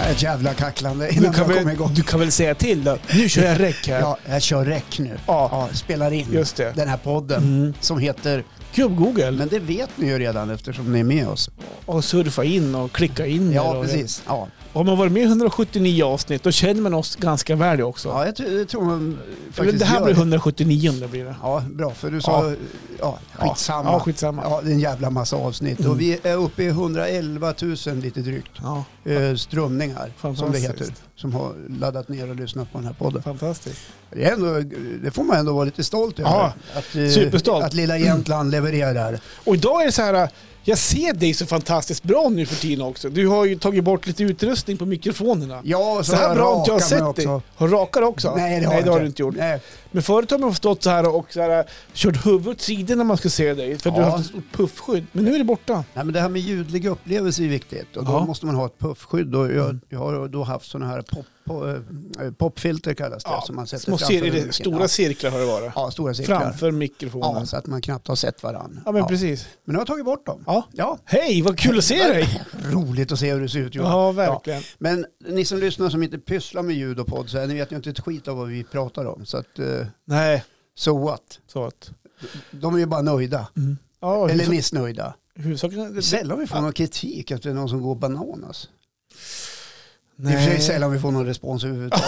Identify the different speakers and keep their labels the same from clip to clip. Speaker 1: ett jävla kacklande
Speaker 2: Du
Speaker 1: innan
Speaker 2: kan,
Speaker 1: jag kom
Speaker 2: väl,
Speaker 1: igång.
Speaker 2: du kan väl säga till då? Nu kör jag räck här.
Speaker 1: Ja, jag kör räck nu.
Speaker 2: Ja.
Speaker 1: Ja. spelar in
Speaker 2: Just det. Mm.
Speaker 1: den här podden som heter...
Speaker 2: Gubb-Google.
Speaker 1: Men det vet ni ju redan eftersom ni är med oss.
Speaker 2: Och surfa in och klicka in. där
Speaker 1: Ja,
Speaker 2: och-
Speaker 1: precis. Ja.
Speaker 2: Har man varit med i 179 avsnitt, då känner man oss ganska väl också.
Speaker 1: Ja, jag tror, jag tror man
Speaker 2: Eller
Speaker 1: faktiskt
Speaker 2: det här
Speaker 1: gör
Speaker 2: blir 179 det blir det.
Speaker 1: Ja, bra. För du sa... Ja, skitsamma.
Speaker 2: Ja, skitsamma.
Speaker 1: Ja, det är en jävla massa avsnitt.
Speaker 2: Mm.
Speaker 1: Och vi är uppe i 111 000 lite drygt
Speaker 2: Ja,
Speaker 1: eh, strömningar, som det
Speaker 2: Fantastiskt.
Speaker 1: heter. Som har laddat ner och lyssnat på den här podden.
Speaker 2: fantastiskt.
Speaker 1: Det, är ändå, det får man ändå vara lite stolt över.
Speaker 2: Ja,
Speaker 1: att, eh,
Speaker 2: superstolt.
Speaker 1: Att lilla Jämtland levererar.
Speaker 2: Och idag är det så här, jag ser dig så fantastiskt bra nu för tiden också. Du har ju tagit bort lite utrustning på mikrofonerna.
Speaker 1: Ja, och
Speaker 2: Så här
Speaker 1: har
Speaker 2: bra har inte jag
Speaker 1: rakat mig
Speaker 2: sett dig. Har du rakat också?
Speaker 1: Nej, det har,
Speaker 2: Nej,
Speaker 1: jag
Speaker 2: det har du inte gjort.
Speaker 1: Nej.
Speaker 2: Men förut har man stått så här och så här, kört huvudet åt sidan när man ska se dig. För du
Speaker 1: Ja.
Speaker 2: har haft ett stort puffskydd. Men nu är det borta.
Speaker 1: Nej, men det här med ljudlig upplevelse är viktigt och då
Speaker 2: Ja. Mm.
Speaker 1: måste man ha ett puffskydd. Och jag, jag har då haft sådana här pop, po- eh, popfilter kallas det. som man sätter
Speaker 2: små
Speaker 1: framför
Speaker 2: cir-
Speaker 1: micken.
Speaker 2: stora
Speaker 1: ja.
Speaker 2: cirklar har det varit.
Speaker 1: ja, stora cirklar.
Speaker 2: Framför mikrofonen.
Speaker 1: Ja, så att man knappt har sett varandra.
Speaker 2: Ja men precis.
Speaker 1: men nu har jag tagit bort dem.
Speaker 2: Ja.
Speaker 1: Ja.
Speaker 2: Hej, vad kul att se dig!
Speaker 1: Roligt att se hur det ser ut Johan.
Speaker 2: Ja, verkligen.
Speaker 1: Men ni som lyssnar som inte pysslar med ljud och podd, så här, ni vet ju inte ett skit av vad vi pratar om. Så att, eh,
Speaker 2: Nej,
Speaker 1: so what?
Speaker 2: så att...
Speaker 1: De är ju bara nöjda.
Speaker 2: Ja,
Speaker 1: Mm. Eller
Speaker 2: huvudsak-
Speaker 1: missnöjda.
Speaker 2: huvudsaken... det-
Speaker 1: Sällan vi får någon kritik att det är någon som går bananas. I och för sig
Speaker 2: Nej.
Speaker 1: sällan vi får någon respons överhuvudtaget.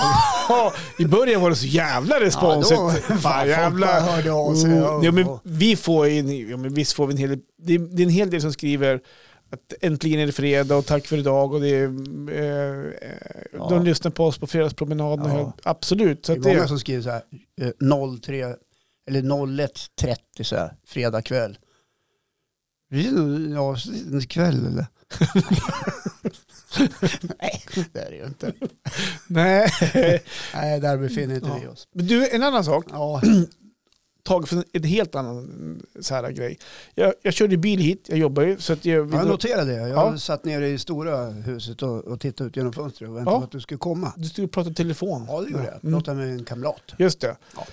Speaker 2: Ja, I början var det så jävla responsigt.
Speaker 1: Ja, då- fan,
Speaker 2: Fan,
Speaker 1: folk
Speaker 2: jävla...
Speaker 1: bara hörde av sig.
Speaker 2: Mm. Ja, men vi får in, ja, men visst får vi en hel del... Det är, det är en hel del som skriver att äntligen är det fredag och tack för idag. Och det är, eh, eh,
Speaker 1: Ja.
Speaker 2: De lyssnar på oss på fredagspromenaden.
Speaker 1: Ja.
Speaker 2: Ja. Absolut. Så
Speaker 1: det är
Speaker 2: att det,
Speaker 1: många som skriver så här eh, 03 eller 01.30 så här, fredag kväll. Vi är nog- Ja, en kväll eller? Nej, det är det ju inte.
Speaker 2: nej.
Speaker 1: Nej, där befinner inte
Speaker 2: Ja.
Speaker 1: vi oss.
Speaker 2: Men du, en annan sak.
Speaker 1: Ja,
Speaker 2: Taget från en helt annan så här grej. Jag, jag körde bil hit, jag jobbar ju. Så att jag,
Speaker 1: jag noterade det. Jag
Speaker 2: Ja.
Speaker 1: satt nere i stora huset och, och tittade ut genom fönstret och väntade
Speaker 2: Ja.
Speaker 1: på att du skulle komma.
Speaker 2: Du stod och pratade i telefon.
Speaker 1: Ja, det gjorde jag.
Speaker 2: Mm.
Speaker 1: Pratade med en kamrat.
Speaker 2: Just det.
Speaker 1: Ja.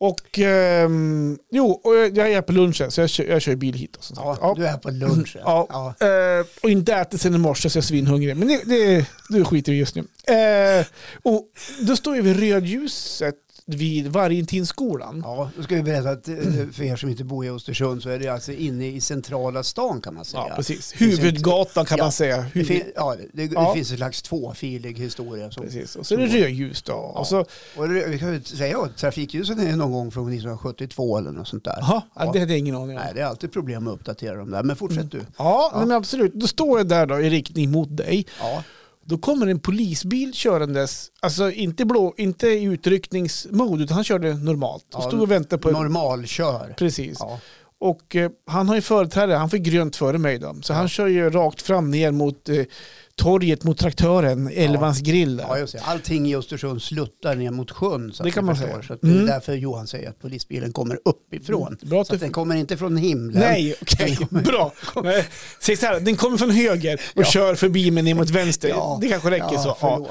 Speaker 2: Och ehm, jo, och jag jag är på lunchen så jag kör, jag kör bil hit. Och, sånt.
Speaker 1: Ja,
Speaker 2: Ja.
Speaker 1: Du är på lunch.
Speaker 2: Ja.
Speaker 1: Ja.
Speaker 2: Eh, och inte ätit sen i morse så jag är svinhungrig. Men det, det, det skiter vi just nu. Eh, och då står jag vid rödljuset vid Vargentinskolan.
Speaker 1: Ja, då ska vi berätta att eh, för er som inte bor i Östersund så är det alltså inne i centrala stan kan man säga.
Speaker 2: Ja, precis. Huvudgatan kan
Speaker 1: Ja.
Speaker 2: man säga.
Speaker 1: Det,
Speaker 2: Huvud,
Speaker 1: fin- ja, det, det,
Speaker 2: Ja.
Speaker 1: det finns en slags tvåfilig historia. Som,
Speaker 2: precis. Och så är det rödljus då. Och så,
Speaker 1: och det, vi kan ju säga att trafikljusen är någon gång från 1972 eller något sånt där.
Speaker 2: aha, ja.
Speaker 1: Ja.
Speaker 2: det hade jag ingen aning om.
Speaker 1: Nej, det Mm. är alltid problem att uppdatera dem där. Men fortsätt du.
Speaker 2: Ja,
Speaker 1: Ja.
Speaker 2: Nej, men absolut. Då står jag där då i riktning mot dig.
Speaker 1: Ja,
Speaker 2: Då kommer en polisbil körandes, alltså inte, blå, inte i utryckningsmod, utan han körde normalt. Och
Speaker 1: Ja,
Speaker 2: stod och väntade på...
Speaker 1: normalkör.
Speaker 2: Precis.
Speaker 1: Ja.
Speaker 2: Och eh, han har ju företräde, han får grönt före mig då. Så han kör ju rakt fram ner mot eh, torget mot traktören, Elvans grill där.
Speaker 1: Ja, just det. Allting i Östersund sluttar ner mot sjön. Så att
Speaker 2: Det kan
Speaker 1: ni
Speaker 2: man
Speaker 1: förstår.
Speaker 2: säga.
Speaker 1: Så att
Speaker 2: Mm.
Speaker 1: Det är därför Johan säger att polisbilen kommer uppifrån.
Speaker 2: Bra att
Speaker 1: så att
Speaker 2: du-
Speaker 1: den kommer inte från himlen.
Speaker 2: Nej, okej, bra. Nej, Säg så här, den kommer från höger och
Speaker 1: Ja.
Speaker 2: kör förbi mig ner mot vänster.
Speaker 1: Ja.
Speaker 2: Det kanske räcker
Speaker 1: ja,
Speaker 2: så. Ja.
Speaker 1: Förlåt.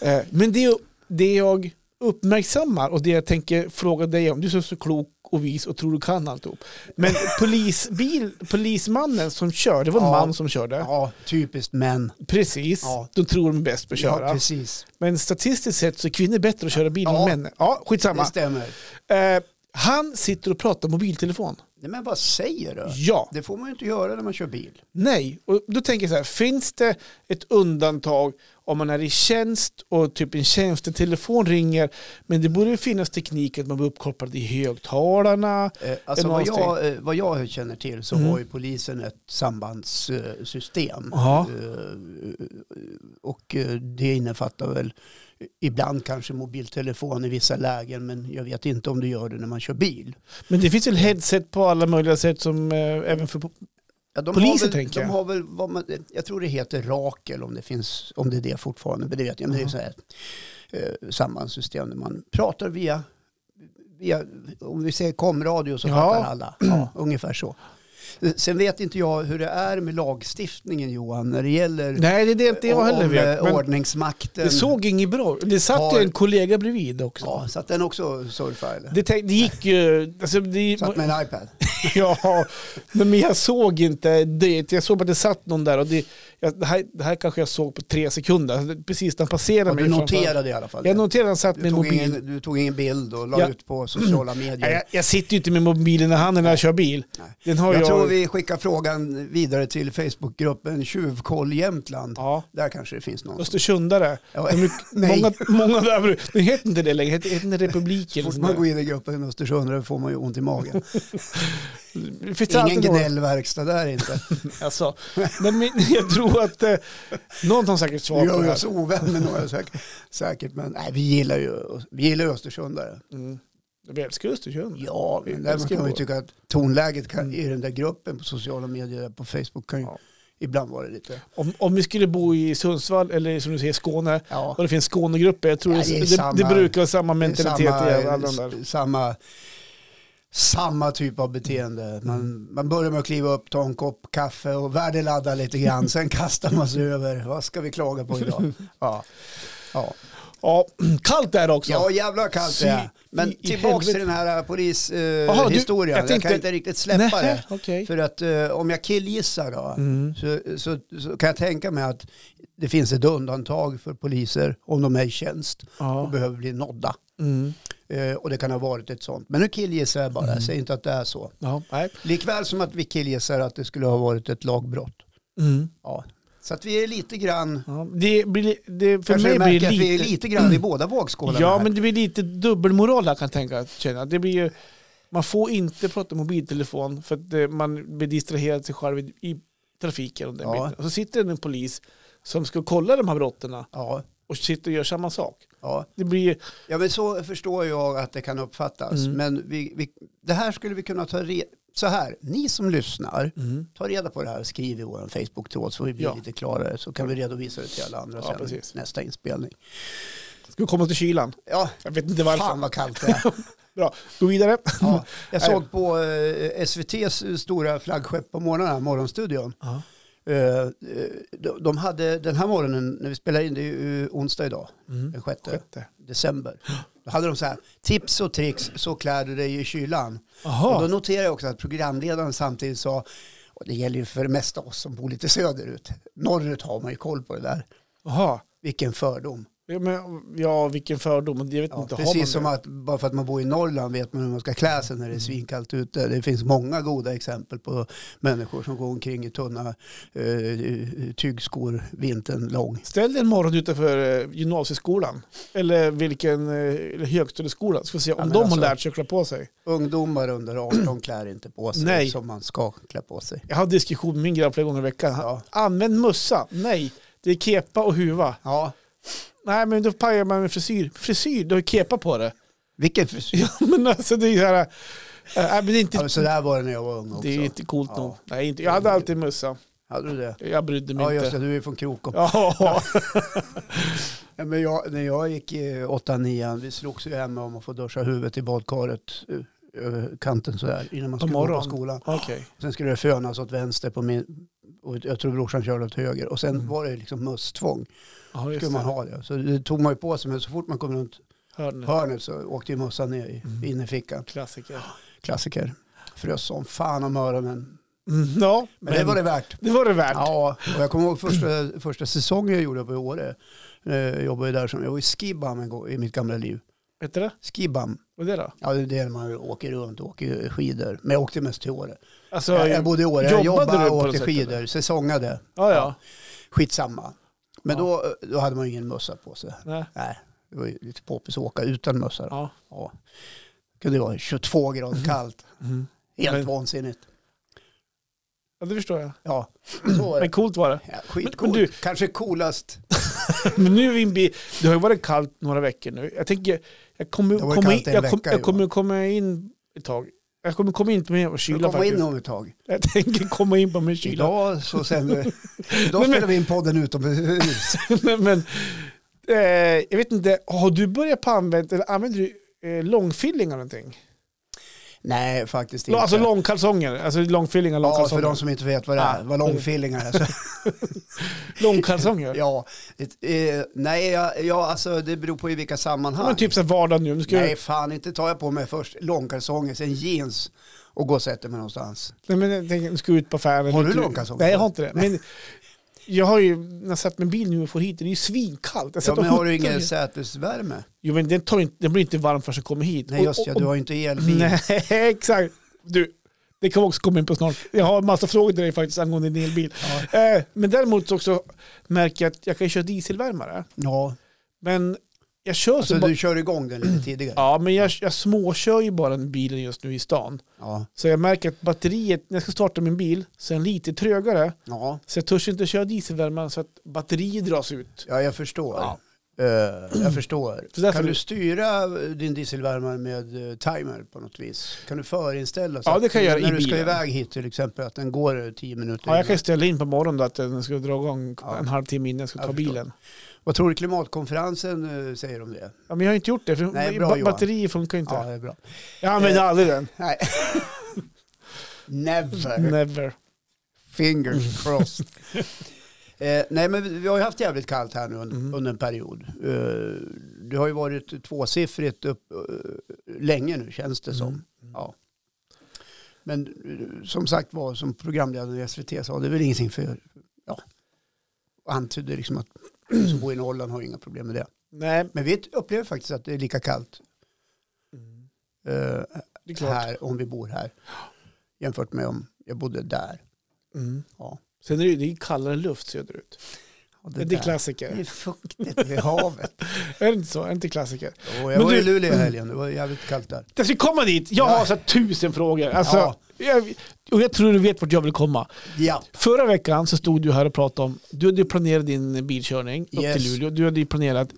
Speaker 1: Ja.
Speaker 2: Eh, Men det, det jag uppmärksammar och det jag tänker fråga dig om, du är så klok och vis och tror du kan alltihop. Men polisbil, polismannen som kör, det var en
Speaker 1: Ja.
Speaker 2: man som körde,
Speaker 1: ja, typiskt män.
Speaker 2: precis,
Speaker 1: Ja.
Speaker 2: de tror de är bäst på att köra.
Speaker 1: Ja, precis.
Speaker 2: Men statistiskt sett så är kvinnor bättre att köra bil
Speaker 1: Ja.
Speaker 2: än män. Ja,
Speaker 1: Det
Speaker 2: skitsamma.
Speaker 1: stämmer.
Speaker 2: Eh, han sitter och pratar mobiltelefon.
Speaker 1: Nej, men vad säger du?
Speaker 2: Ja,
Speaker 1: Det får man ju inte göra när man kör bil.
Speaker 2: nej. Och då tänker jag så här, finns det ett undantag om man är i tjänst och typ en tjänstetelefon ringer, men det borde ju finnas teknik att man blir uppkopplad i högtalarna.
Speaker 1: Eh, Alltså
Speaker 2: En
Speaker 1: vad
Speaker 2: avsteg. Mm.
Speaker 1: jag, eh, vad jag känner till så har ju polisen ett sambandssystem.
Speaker 2: Ja.
Speaker 1: Eh, Och eh, det innefattar väl ibland kanske mobiltelefon i vissa lägen men jag vet inte om du gör det när man kör bil.
Speaker 2: Men det finns väl headset på alla möjliga sätt som eh, även för...
Speaker 1: Ja, de
Speaker 2: Poliser,
Speaker 1: har väl,
Speaker 2: tänker
Speaker 1: de
Speaker 2: jag.
Speaker 1: Har väl vad man, jag tror det heter Rakel om det, finns, om det är det fortfarande. Men det vet jag. Men det är så här, eh, sambandssystem där man pratar via, via, om vi säger komradio så
Speaker 2: Ja.
Speaker 1: Mm. fattar alla. Ja, ungefär så. Sen vet inte jag hur det är med lagstiftningen Johan när det gäller
Speaker 2: Nej, det är det inte jag heller
Speaker 1: om,
Speaker 2: vet.
Speaker 1: eh,
Speaker 2: Men
Speaker 1: ordningsmakten.
Speaker 2: det såg inget bra ut. Det satt
Speaker 1: Har-
Speaker 2: ju en kollega bredvid också.
Speaker 1: Ja, så att den också surfar eller?
Speaker 2: Det, tänk, det gick ju... Alltså det,
Speaker 1: Satt med en iPad.
Speaker 2: ja, men jag såg inte det. Jag såg bara att det satt någon där. Och det, jag, det, här, det här kanske jag såg på tre sekunder. Alltså, Precis när han passerade
Speaker 1: Och
Speaker 2: mig.
Speaker 1: du
Speaker 2: framför-
Speaker 1: noterade i alla fall.
Speaker 2: Jag
Speaker 1: det.
Speaker 2: noterade att han satt med
Speaker 1: du,
Speaker 2: en
Speaker 1: tog
Speaker 2: mobil.
Speaker 1: ingen, du tog ingen bild och la
Speaker 2: Ja.
Speaker 1: ut på sociala medier.
Speaker 2: Nej, jag, jag sitter ju inte med mobilen i handen när jag kör bil.
Speaker 1: Nej.
Speaker 2: Den har jag...
Speaker 1: Jag tror vi skickar frågan vidare till Facebookgruppen Tjuvkoll Jämtland.
Speaker 2: Ja,
Speaker 1: Där kanske det finns någon. som-
Speaker 2: Östersundare.
Speaker 1: Ja,
Speaker 2: De är-
Speaker 1: nej.
Speaker 2: Många, många där, det heter inte det längre, det heter inte
Speaker 1: Så
Speaker 2: Republiken.
Speaker 1: fort man går in i gruppen Östersundare får man ju ont i magen.
Speaker 2: Det finns
Speaker 1: Ingen
Speaker 2: alltid någon-
Speaker 1: gnällverkstad där inte.
Speaker 2: Alltså, nej, men jag tror att eh, någon har säkert
Speaker 1: Nu
Speaker 2: svar på
Speaker 1: gör
Speaker 2: det
Speaker 1: vi
Speaker 2: här.
Speaker 1: oss ovän med några säkert. säkert men nej, vi gillar ju vi gillar ju Östersundare.
Speaker 2: Mm. Vi älskar Östersund.
Speaker 1: Ja, men
Speaker 2: Vi
Speaker 1: där
Speaker 2: älskar
Speaker 1: kan man ju
Speaker 2: vår- Mm.
Speaker 1: tycka att tonläget kan, i den där gruppen på sociala medier, på Facebook, kan ju
Speaker 2: Ja.
Speaker 1: ibland vara det lite...
Speaker 2: Om, om vi skulle bo i Sundsvall eller som du säger Skåne
Speaker 1: Ja.
Speaker 2: och det finns Skånegrupper, jag tror
Speaker 1: Ja, det
Speaker 2: det,
Speaker 1: är
Speaker 2: det,
Speaker 1: samma-
Speaker 2: det brukar vara samma
Speaker 1: Det är
Speaker 2: mentalitet
Speaker 1: samma,
Speaker 2: i alla de där.
Speaker 1: samma, samma typ av beteende. Man, man börjar med att kliva upp, ta en kopp kaffe och värdeladda lite grann. Sen kastar man sig över, vad ska vi klaga på idag? Ja, ja.
Speaker 2: Ja, kallt där också.
Speaker 1: ja jävlar kallt det är. Men
Speaker 2: i- i
Speaker 1: tillbaks till
Speaker 2: helvete.
Speaker 1: den här eh,
Speaker 2: Jaha, du-
Speaker 1: polishistorien.
Speaker 2: jag
Speaker 1: jag,
Speaker 2: tänkte-
Speaker 1: kan inte riktigt släppa
Speaker 2: Nej,
Speaker 1: det.
Speaker 2: okej.
Speaker 1: För att eh, om jag killgissar då,
Speaker 2: Mm.
Speaker 1: så, så, så kan jag tänka mig att det finns ett undantag för poliser om de är i tjänst och
Speaker 2: Ja.
Speaker 1: behöver bli nådda.
Speaker 2: Mm.
Speaker 1: Eh, och det kan ha varit ett sånt. Men nu killgissar jag bara, jag säger inte att det är så.
Speaker 2: Ja, nej.
Speaker 1: Likväl som att vi killgissar att det skulle ha varit ett lagbrott.
Speaker 2: Mm.
Speaker 1: Ja. Så att vi är lite grann,
Speaker 2: Ja, det blir, det, för
Speaker 1: kanske du
Speaker 2: mig
Speaker 1: märker
Speaker 2: blir
Speaker 1: att vi är
Speaker 2: det lite...
Speaker 1: lite grann i båda vågskålarna
Speaker 2: Ja,
Speaker 1: här.
Speaker 2: men det blir lite dubbelmoral här kan jag tänka. Känna. Det blir ju, man får inte prata mobiltelefon för att eh, man blir distraherad sig själv i, i trafiken. Och den
Speaker 1: Ja.
Speaker 2: biten. och så sitter det en polis som ska kolla de här brotten
Speaker 1: Ja,
Speaker 2: och sitter och gör samma sak.
Speaker 1: ja.
Speaker 2: Det blir ju,
Speaker 1: ja, men så förstår jag att det kan uppfattas.
Speaker 2: Mm.
Speaker 1: Men vi, vi, det här skulle vi kunna ta reda så här, ni som lyssnar, ta reda på det här och skriv i vår Facebook-tråd så vi blir
Speaker 2: Mm. Ja.
Speaker 1: lite klarare så kan vi redovisa det till alla andra
Speaker 2: Ja,
Speaker 1: sen
Speaker 2: precis.
Speaker 1: nästa inspelning.
Speaker 2: ska vi komma till kylan?
Speaker 1: Ja,
Speaker 2: Jag vet inte varför.
Speaker 1: fan vad kallt det är.
Speaker 2: Bra, gå vidare.
Speaker 1: Ja, jag såg på eh, SVTs stora flaggskepp på morgonen, Morgonstudion.
Speaker 2: Ja.
Speaker 1: Eh, eh, de- De hade den här morgonen, när vi spelar in, det är ju eh, onsdag idag,
Speaker 2: Mm.
Speaker 1: den 6
Speaker 2: Sjätte.
Speaker 1: december. Då hade de så här, tips och tricks, så klär du dig i kylan. Och då
Speaker 2: Jaha,
Speaker 1: noterade jag också att programledaren samtidigt sa, och det gäller ju för det mesta oss som bor lite söderut, norrut har man ju koll på det där,
Speaker 2: jaha.
Speaker 1: vilken fördom.
Speaker 2: Ja, men, ja, vilken fördom. Jag vet
Speaker 1: Ja,
Speaker 2: inte, har man
Speaker 1: precis som
Speaker 2: det?
Speaker 1: att bara för att man bor i Norrland vet man hur man ska klä sig när det är svinkallt ute. Det finns många goda exempel på människor som går omkring i tunna eh, tygskor vintern lång.
Speaker 2: Ställ dig en morgon utanför eh, gymnasieskolan eller vilken eh, eller högstadieskolan. Ska vi se om
Speaker 1: Ja, men
Speaker 2: de
Speaker 1: alltså-
Speaker 2: har lärt sig att klä på sig.
Speaker 1: Ungdomar under 18 klär inte på sig
Speaker 2: Nej.
Speaker 1: som man ska klä på sig.
Speaker 2: Jag har diskussion med min grabb flera gånger i veckan. Han-
Speaker 1: Ja.
Speaker 2: Använd mössa. Nej, det är kepa och huva.
Speaker 1: Ja,
Speaker 2: Nej, men då pajar man med frisyr. Frisyr, du har ju kepa på det.
Speaker 1: vilken frisyr.
Speaker 2: Ja, men alltså det är så här. eh, Nej, men det är inte,
Speaker 1: Ja, men så där var det när jag var ung också.
Speaker 2: det är inte coolt
Speaker 1: Ja.
Speaker 2: nog. Nej, inte. Jag hade alltid mössa.
Speaker 1: Hade du det?
Speaker 2: Jag brydde mig
Speaker 1: Ja, just
Speaker 2: inte.
Speaker 1: det. Du är från Krokom.
Speaker 2: Ja,
Speaker 1: Ja, men jag, när jag gick i åttan, nian, vi slogs ju hemma om att få duscha huvudet i badkaret eh, över kanten sådär innan man
Speaker 2: På
Speaker 1: skulle gå på
Speaker 2: morgonen.
Speaker 1: skolan.
Speaker 2: okej.
Speaker 1: Sen skulle det fönas åt vänster på min, och jag tror brorsan körde åt höger. Och sen
Speaker 2: Mm.
Speaker 1: var det liksom mösstvång.
Speaker 2: Ja, just
Speaker 1: Skulle man
Speaker 2: det.
Speaker 1: ha det. Så det tog man ju på sig, men så fort man kom runt
Speaker 2: Hörni.
Speaker 1: hörnet så åkte ju mössan ner i
Speaker 2: Mm.
Speaker 1: innerfickan.
Speaker 2: Klassiker.
Speaker 1: Klassiker. Frös som fan om öronen.
Speaker 2: Mm, ja,
Speaker 1: Men det var det värt.
Speaker 2: det var det värt.
Speaker 1: Ja, och jag kommer ihåg första, första säsongen jag gjorde på Åre. Eh, Jag jobbade ju där som, jag var i Skibam en gång i mitt gamla liv.
Speaker 2: Vet du det?
Speaker 1: Skibam,
Speaker 2: Vad är det då?
Speaker 1: ja det är där man åker runt och åker skidor. Men jag åkte mest till Åre.
Speaker 2: Alltså,
Speaker 1: Jag, jag bodde i Åre, jag
Speaker 2: jobbade
Speaker 1: jobbade
Speaker 2: du
Speaker 1: och
Speaker 2: på
Speaker 1: åkte
Speaker 2: något sätt,
Speaker 1: skidor, säsongade.
Speaker 2: Ja, ja.
Speaker 1: Skitsamma. Men
Speaker 2: Ja.
Speaker 1: då, då hade man ju ingen mössa på sig.
Speaker 2: Nej.
Speaker 1: Nej, det var ju lite poppis att åka utan mössa. då.
Speaker 2: Ja. Mm.
Speaker 1: Ja. Det kunde vara 22 grader kallt. Helt
Speaker 2: Men-
Speaker 1: vansinnigt.
Speaker 2: ja, det förstår jag.
Speaker 1: Ja, så var
Speaker 2: Men
Speaker 1: det.
Speaker 2: coolt var det.
Speaker 1: Ja,
Speaker 2: men
Speaker 1: skitcoolt.
Speaker 2: du-
Speaker 1: Kanske coolast.
Speaker 2: Men nu är vi inbi... Det har ju varit kallt några veckor nu. Jag tänker, jag kommer
Speaker 1: Det har varit
Speaker 2: komma in,
Speaker 1: kallt en
Speaker 2: jag kom,
Speaker 1: vecka,
Speaker 2: jag kommer komma in ett tag. Jag kommer komma in på min
Speaker 1: Du
Speaker 2: kyla
Speaker 1: komma
Speaker 2: faktiskt.
Speaker 1: in om ett tag.
Speaker 2: Jag tänker komma in på min kyla.
Speaker 1: Idag så sänder Idag
Speaker 2: men-
Speaker 1: spelar vi in podden utomhus.
Speaker 2: Nej, men, eh, jag vet inte, har du börjat på använt, eller använder du eh, långfilling eller någonting?
Speaker 1: Nej, faktiskt
Speaker 2: Lå-
Speaker 1: inte.
Speaker 2: Alltså långkalsonger, alltså långfillingar,
Speaker 1: ja, för
Speaker 2: långkalsonger.
Speaker 1: de som inte vet vad det är,
Speaker 2: Ah.
Speaker 1: vad långfillingar är. Så,
Speaker 2: Långkalsonger? ja.
Speaker 1: ja, det, eh, nej, ja, ja, alltså det beror på i vilka sammanhang.
Speaker 2: Men typ så här vardag nu, nu ska
Speaker 1: Nej,
Speaker 2: jag,
Speaker 1: fan inte tar jag på mig först långkalsonger, sen jeans och går och sätter mig någonstans.
Speaker 2: nej, men jag tänker, nu ska jag ut på affären.
Speaker 1: Har du
Speaker 2: ut-
Speaker 1: långkalsonger?
Speaker 2: Nej, jag har inte det. Men jag har ju, när jag satt med bil nu och for hit, det är ju svinkallt. Jag
Speaker 1: Ja,
Speaker 2: satt
Speaker 1: men
Speaker 2: och
Speaker 1: har du
Speaker 2: huttrade.
Speaker 1: ingen sätesvärme?
Speaker 2: Jo, men den, tar ju inte, den blir inte varm förrän jag kommer hit.
Speaker 1: Nej,
Speaker 2: Och-
Speaker 1: just ja,
Speaker 2: och-
Speaker 1: du har ju inte elbil.
Speaker 2: Nej, exakt. Du, det kan vi också komma in på snart. Jag har en massa frågor till dig faktiskt angående din elbil. Eh, men däremot så också märker jag att jag kan ju köra dieselvärmare.
Speaker 1: Ja,
Speaker 2: Men jag kör
Speaker 1: alltså
Speaker 2: så bara,
Speaker 1: du kör igång den lite tidigare.
Speaker 2: Mm. Ja, men jag, jag småkör ju bara den bilen just nu i stan.
Speaker 1: Ja,
Speaker 2: Så jag märker att batteriet, när jag ska starta min bil, så är den lite trögare.
Speaker 1: ja.
Speaker 2: Så jag törs inte köra dieselvärmaren så att batteriet dras ut.
Speaker 1: ja jag förstår.
Speaker 2: Ja.
Speaker 1: Eh, jag förstår.
Speaker 2: Så därför-
Speaker 1: Kan du styra din dieselvärmare med eh, timer på något vis? Kan du förinställa? så
Speaker 2: Ja,
Speaker 1: att
Speaker 2: det kan jag göra
Speaker 1: När
Speaker 2: i
Speaker 1: du ska
Speaker 2: bilen.
Speaker 1: iväg hit till exempel, att den går eh, tio minuter.
Speaker 2: Ja, jag kan ju
Speaker 1: innan.
Speaker 2: ställa in på morgonen då att den ska dra igång
Speaker 1: Ja.
Speaker 2: en halvtimme innan jag ska
Speaker 1: Jag
Speaker 2: ta
Speaker 1: förstår.
Speaker 2: bilen.
Speaker 1: Vad tror du klimatkonferensen eh, säger om det?
Speaker 2: Ja, men jag har inte gjort det, för
Speaker 1: Nej, bra,
Speaker 2: ba-
Speaker 1: Johan.
Speaker 2: batteriet funkar ju inte.
Speaker 1: Ja, det är bra.
Speaker 2: Jag använder
Speaker 1: Eh,
Speaker 2: aldrig den.
Speaker 1: Nej. Never.
Speaker 2: Never.
Speaker 1: Fingers
Speaker 2: Mm.
Speaker 1: crossed. Eh, nej men vi- vi har ju haft jävligt kallt här nu un-
Speaker 2: Mm.
Speaker 1: under en period. Eh, det har ju varit tvåsiffrigt upp, eh, länge nu känns det som.
Speaker 2: Mm.
Speaker 1: Ja. Men eh, som sagt var, som programledaren i SVT sa, det är väl ingenting för, ja, antydde liksom att de som bor i Norrland har inga problem med det.
Speaker 2: Nej,
Speaker 1: Men vi upplever faktiskt att det är lika kallt eh,
Speaker 2: det är klart.
Speaker 1: här om vi bor här jämfört med om jag bodde där.
Speaker 2: Mm.
Speaker 1: Ja.
Speaker 2: Sen är det ju det är kallare luft söderut.
Speaker 1: Och
Speaker 2: Det, det är
Speaker 1: där, Det är
Speaker 2: klassiker.
Speaker 1: fuktigt vid havet.
Speaker 2: Är det inte så? Är det inte klassiker?
Speaker 1: Och jag
Speaker 2: Men
Speaker 1: var i
Speaker 2: du-
Speaker 1: Luleå i helgen, det var jävligt kallt där.
Speaker 2: Jag ska komma dit. Jag
Speaker 1: Ja.
Speaker 2: har så här tusen frågor. Alltså,
Speaker 1: Ja.
Speaker 2: jag, och jag tror du vet vart jag vill komma.
Speaker 1: Ja,
Speaker 2: Förra veckan så stod du här och pratade om, du hade ju planerat din bilkörning upp
Speaker 1: Yes.
Speaker 2: till Luleå. Du hade ju planerat,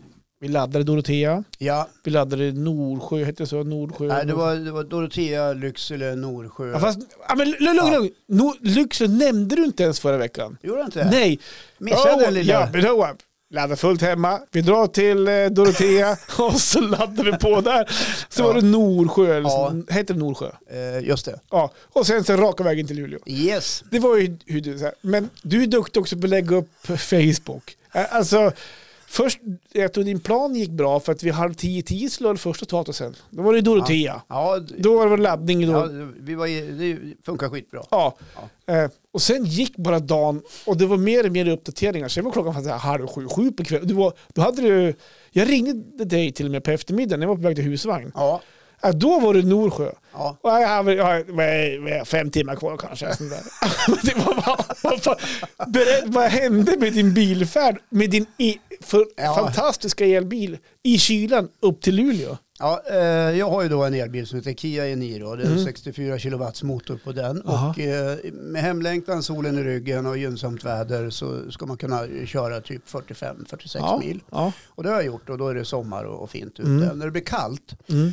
Speaker 2: vi laddade Dorotea,
Speaker 1: ja.
Speaker 2: vi laddade Norsjö, hette det så? Nordsjö?
Speaker 1: Nej, det, var, det var Dorotea, Lycksele, Norsjö.
Speaker 2: Ja, fast, ja, men lugn, lugn,
Speaker 1: Ja.
Speaker 2: lugn. No, Lycksele nämnde du inte ens förra veckan.
Speaker 1: Gjorde jag inte det?
Speaker 2: Nej,
Speaker 1: Missade
Speaker 2: Oh,
Speaker 1: den lilla...
Speaker 2: Ja, men då, laddar fullt hemma. Vi drar till eh, Dorotea och så laddar vi på där. Så
Speaker 1: Ja.
Speaker 2: var det Norsjö, eller
Speaker 1: Ja.
Speaker 2: så, heter det Norsjö?
Speaker 1: Eh, just det.
Speaker 2: Ja, och sen så raka vägen till Luleå.
Speaker 1: Yes.
Speaker 2: Det var ju hur du... Så här. Men du är duktig också på att lägga upp Facebook. Ä- Alltså, först, jag tror din plan gick bra för att vi halv tio, tio slog första statusen. Då var det Dorotea.
Speaker 1: Ja, d-
Speaker 2: Då var det laddning då.
Speaker 1: ja,
Speaker 2: Ja.
Speaker 1: vi var i, det funkar skitbra.
Speaker 2: Eh, och sen gick bara dagen och det var mer och mer uppdateringar. Sen var klockan faktiskt halv sju, sju på kvällen. Du var, då hade du, jag ringde dig till och med på eftermiddagen när jag var på väg till husvagn.
Speaker 1: Ja, ja.
Speaker 2: Ja, då var det Norsjö.
Speaker 1: ja.
Speaker 2: Och jag hade, jag hade, vad är- fem timmar kvar kanske. Sånt där. det var, vad, vad, fan- berätt, vad hände med din bilfärd, med din e, för,
Speaker 1: Ja.
Speaker 2: fantastiska elbil i kylan upp till Luleå?
Speaker 1: Ja, eh, jag har ju då en elbil som heter Kia Eniro. Det är en 64 kilowatts motor på den.
Speaker 2: Mm. Aha.
Speaker 1: Och eh, med hemlängtan, solen i ryggen och gynnsamt väder så ska man kunna köra typ 45-46
Speaker 2: ja.
Speaker 1: mil.
Speaker 2: Ja.
Speaker 1: Och det har jag gjort och då är det sommar och, och fint ute.
Speaker 2: Mm.
Speaker 1: När det blir kallt,
Speaker 2: Mm.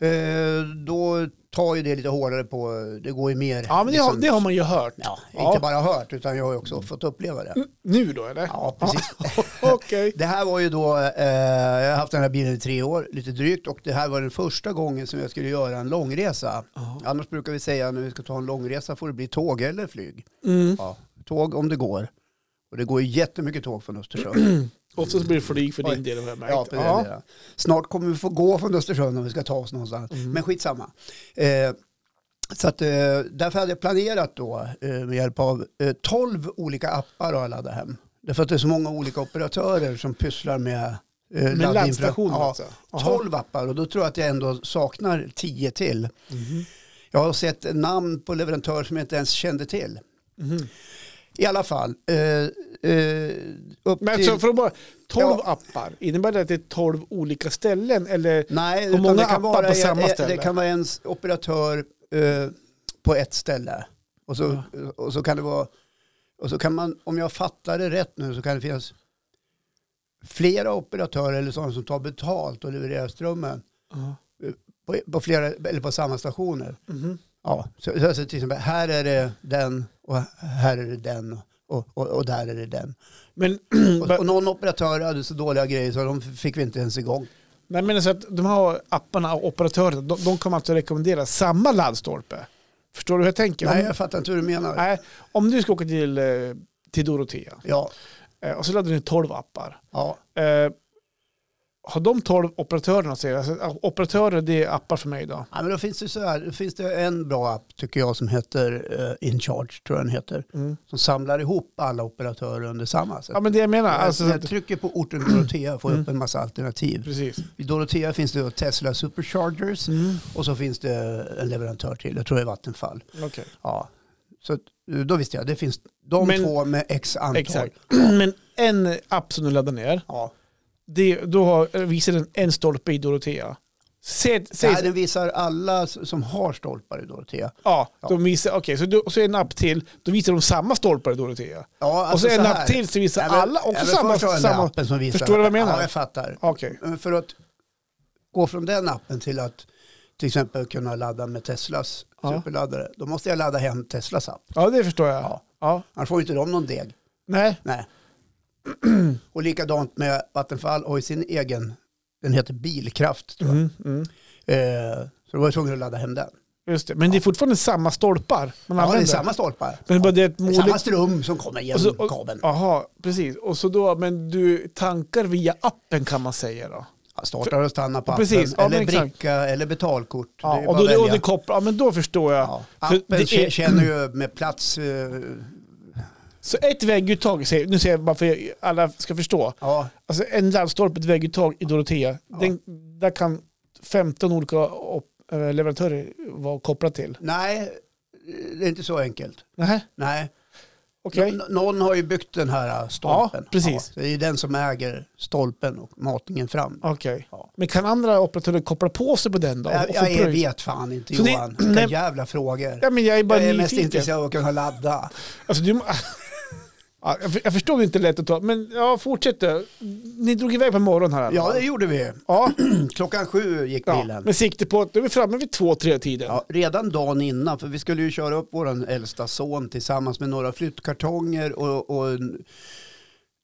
Speaker 1: eh, då tar ju det lite hårdare på, det går ju mer.
Speaker 2: ja, men det har,
Speaker 1: liksom-
Speaker 2: det har man ju hört.
Speaker 1: ja,
Speaker 2: Ja. Mm.
Speaker 1: Inte bara hört utan jag har ju också fått uppleva det.
Speaker 2: Nu då eller?
Speaker 1: Ja, precis.
Speaker 2: Okej.
Speaker 1: Det här var ju då, eh, jag har haft den här bilen i tre år, lite drygt, och det här var den första gången som jag skulle göra en långresa. Annars brukar vi säga när vi ska ta en långresa får det bli tåg eller flyg.
Speaker 2: Mm.
Speaker 1: Ja, tåg om det går. Och det går ju jättemycket tåg från Östersund.
Speaker 2: Oftast blir det flyg för din
Speaker 1: Oj.
Speaker 2: del har jag märkt.
Speaker 1: Ja, för det är det. Snart kommer vi få gå från Östersund om vi ska ta oss någonstans.
Speaker 2: Mm.
Speaker 1: Men skitsamma. Eh, så att, eh, därför hade jag planerat då eh, med hjälp av eh, 12 olika appar har jag laddat hem. Därför att det är så många olika operatörer som pysslar med eh,
Speaker 2: Med
Speaker 1: laddinfra-
Speaker 2: laddstationen
Speaker 1: Ja,
Speaker 2: alltså? Jaha.
Speaker 1: 12 appar och då tror jag att jag ändå saknar 10 till.
Speaker 2: Mhm.
Speaker 1: Jag har sett namn på leverantörer som jag inte ens kände till.
Speaker 2: Mhm.
Speaker 1: I alla fall, eh, eh, upp
Speaker 2: Men
Speaker 1: till...
Speaker 2: så för att bara, 12
Speaker 1: Ja.
Speaker 2: appar, innebär det att det är 12 olika ställen? Eller?
Speaker 1: Nej,
Speaker 2: Och
Speaker 1: utan
Speaker 2: många
Speaker 1: det kan
Speaker 2: appar
Speaker 1: vara,
Speaker 2: på samma
Speaker 1: eh,
Speaker 2: ställe.
Speaker 1: Det kan vara en s- operatör eh, på ett ställe. Och så, och så kan det vara, och så kan man, om jag fattar det rätt nu så kan det finnas flera operatörer eller sådana som tar betalt och levererar strömmen eh, på, på, flera, eller på samma stationer.
Speaker 2: Mhm.
Speaker 1: Ja, så, så, så till exempel här är det den och här är det den och, och, och där är det den.
Speaker 2: Men,
Speaker 1: Och, och någon operatör hade så dåliga grejer så de fick vi inte ens igång.
Speaker 2: Nej, men så att de här apparna och operatörerna, de, de kommer alltså rekommendera samma laddstolpe. Förstår du hur jag tänker?
Speaker 1: Nej,
Speaker 2: om,
Speaker 1: jag fattar inte hur du menar.
Speaker 2: nej, om du ska åka till, eh, till Dorotea
Speaker 1: Ja,
Speaker 2: eh, och så laddar du ner 12 appar.
Speaker 1: ja,
Speaker 2: Eh, har de 12 operatörerna, säger jag, alltså, operatörer det är appar för mig då.
Speaker 1: ja men då finns det så här, då finns det en bra app tycker jag som heter eh, In Charge, tror jag den heter, som samlar ihop alla operatörer under samma. Så
Speaker 2: Mm. Ja, men det jag menar.
Speaker 1: alltså,
Speaker 2: Alltså, Mm.
Speaker 1: jag trycker på orten Dorotea och får upp en massa alternativ.
Speaker 2: precis. Mm.
Speaker 1: I Dorotea finns det då Tesla Superchargers och så finns det en leverantör till, jag tror det är Vattenfall.
Speaker 2: Okej.
Speaker 1: Ja. Så att, eh, då visste jag, det finns de
Speaker 2: Men-
Speaker 1: två med x antal.
Speaker 2: Exakt. Men en app som du laddar ner,
Speaker 1: Ja.
Speaker 2: det, då har, visar den en stolpe i Dorotea. Säg, säg,
Speaker 1: Nej, den visar alla s- som har stolpar i Dorotea.
Speaker 2: Ja, de visar, okej, så, du- och så en app till, då visar de samma stolpar i Dorotea.
Speaker 1: Ja, alltså
Speaker 2: och så en
Speaker 1: här.
Speaker 2: app till så visar
Speaker 1: Nej, men-
Speaker 2: alla också
Speaker 1: nej, men
Speaker 2: samma.
Speaker 1: först har jag den där
Speaker 2: samma
Speaker 1: appen som visar.
Speaker 2: Förstår du vad jag menar?
Speaker 1: Ja, jag fattar.
Speaker 2: Okej,
Speaker 1: Men För att gå från den appen till att till exempel kunna ladda med Teslas
Speaker 2: Ja.
Speaker 1: superladdare, då måste jag ladda hem Teslas app.
Speaker 2: ja det förstår jag. Ja.
Speaker 1: Ja. Annars får ju inte de någon deg.
Speaker 2: Nej,
Speaker 1: Nej. Och likadant med Vattenfall har ju sin egen, den heter Bilkraft tror jag.
Speaker 2: mm, mm.
Speaker 1: Eh, så då var jag tvungen att ladda hem den.
Speaker 2: just det. Men det är fortfarande samma stolpar
Speaker 1: Ja,
Speaker 2: man
Speaker 1: det är
Speaker 2: använder.
Speaker 1: samma stolpar.
Speaker 2: Men bara det är ett
Speaker 1: Det är samma
Speaker 2: modigt...
Speaker 1: ström som kommer genom
Speaker 2: och så- och-
Speaker 1: kabeln.
Speaker 2: Jaha, precis. Och så då, men du tankar via appen kan man säga då.
Speaker 1: Ja, startar och stannar på appen,
Speaker 2: Precis, ja,
Speaker 1: eller
Speaker 2: men
Speaker 1: bricka
Speaker 2: exakt.
Speaker 1: eller betalkort.
Speaker 2: Ja,
Speaker 1: det är
Speaker 2: och
Speaker 1: bara
Speaker 2: då
Speaker 1: att
Speaker 2: det
Speaker 1: välja.
Speaker 2: återkopplar, ja men då förstår jag.
Speaker 1: Ja.
Speaker 2: För
Speaker 1: Appen
Speaker 2: det är-
Speaker 1: känner ju med plats, eh,
Speaker 2: Så ett vägguttag, säger- nu säger jag bara för att alla ska förstå.
Speaker 1: ja,
Speaker 2: Alltså en laddstolpe, ett vägguttag i Dorotea, den, där kan 15 olika op- eh, leverantörer vara kopplade till.
Speaker 1: nej, det är inte så enkelt.
Speaker 2: Nej,
Speaker 1: Nej,
Speaker 2: okej.
Speaker 1: N- någon har ju byggt den här eh, stolpen.
Speaker 2: Ja, precis.
Speaker 1: så det är den som äger stolpen och matningen fram.
Speaker 2: Okej.
Speaker 1: Ja.
Speaker 2: Men kan andra operatörer koppla på sig på den då?
Speaker 1: Jag,
Speaker 2: Och
Speaker 1: jag
Speaker 2: få
Speaker 1: är,
Speaker 2: pröjs?
Speaker 1: vet fan inte
Speaker 2: Så det-
Speaker 1: Johan, vilka
Speaker 2: nej.
Speaker 1: jävla frågor.
Speaker 2: Ja, men jag är bara
Speaker 1: Jag är mest
Speaker 2: nyfiken.
Speaker 1: intresserad av att kunna ladda.
Speaker 2: Alltså, du, må- ja, jag för- jag förstår det inte är lätt att ta, men ja, fortsätt då. Ni drog iväg på morgonen här. i alla
Speaker 1: Ja, det
Speaker 2: fall.
Speaker 1: gjorde vi.
Speaker 2: ja,
Speaker 1: Klockan sju gick
Speaker 2: ja.
Speaker 1: bilen.
Speaker 2: Med sikte på att då är vi framme vid två, tre tiden.
Speaker 1: Ja, redan dagen innan, för vi skulle ju köra upp vår äldsta son tillsammans med några flyttkartonger och, och en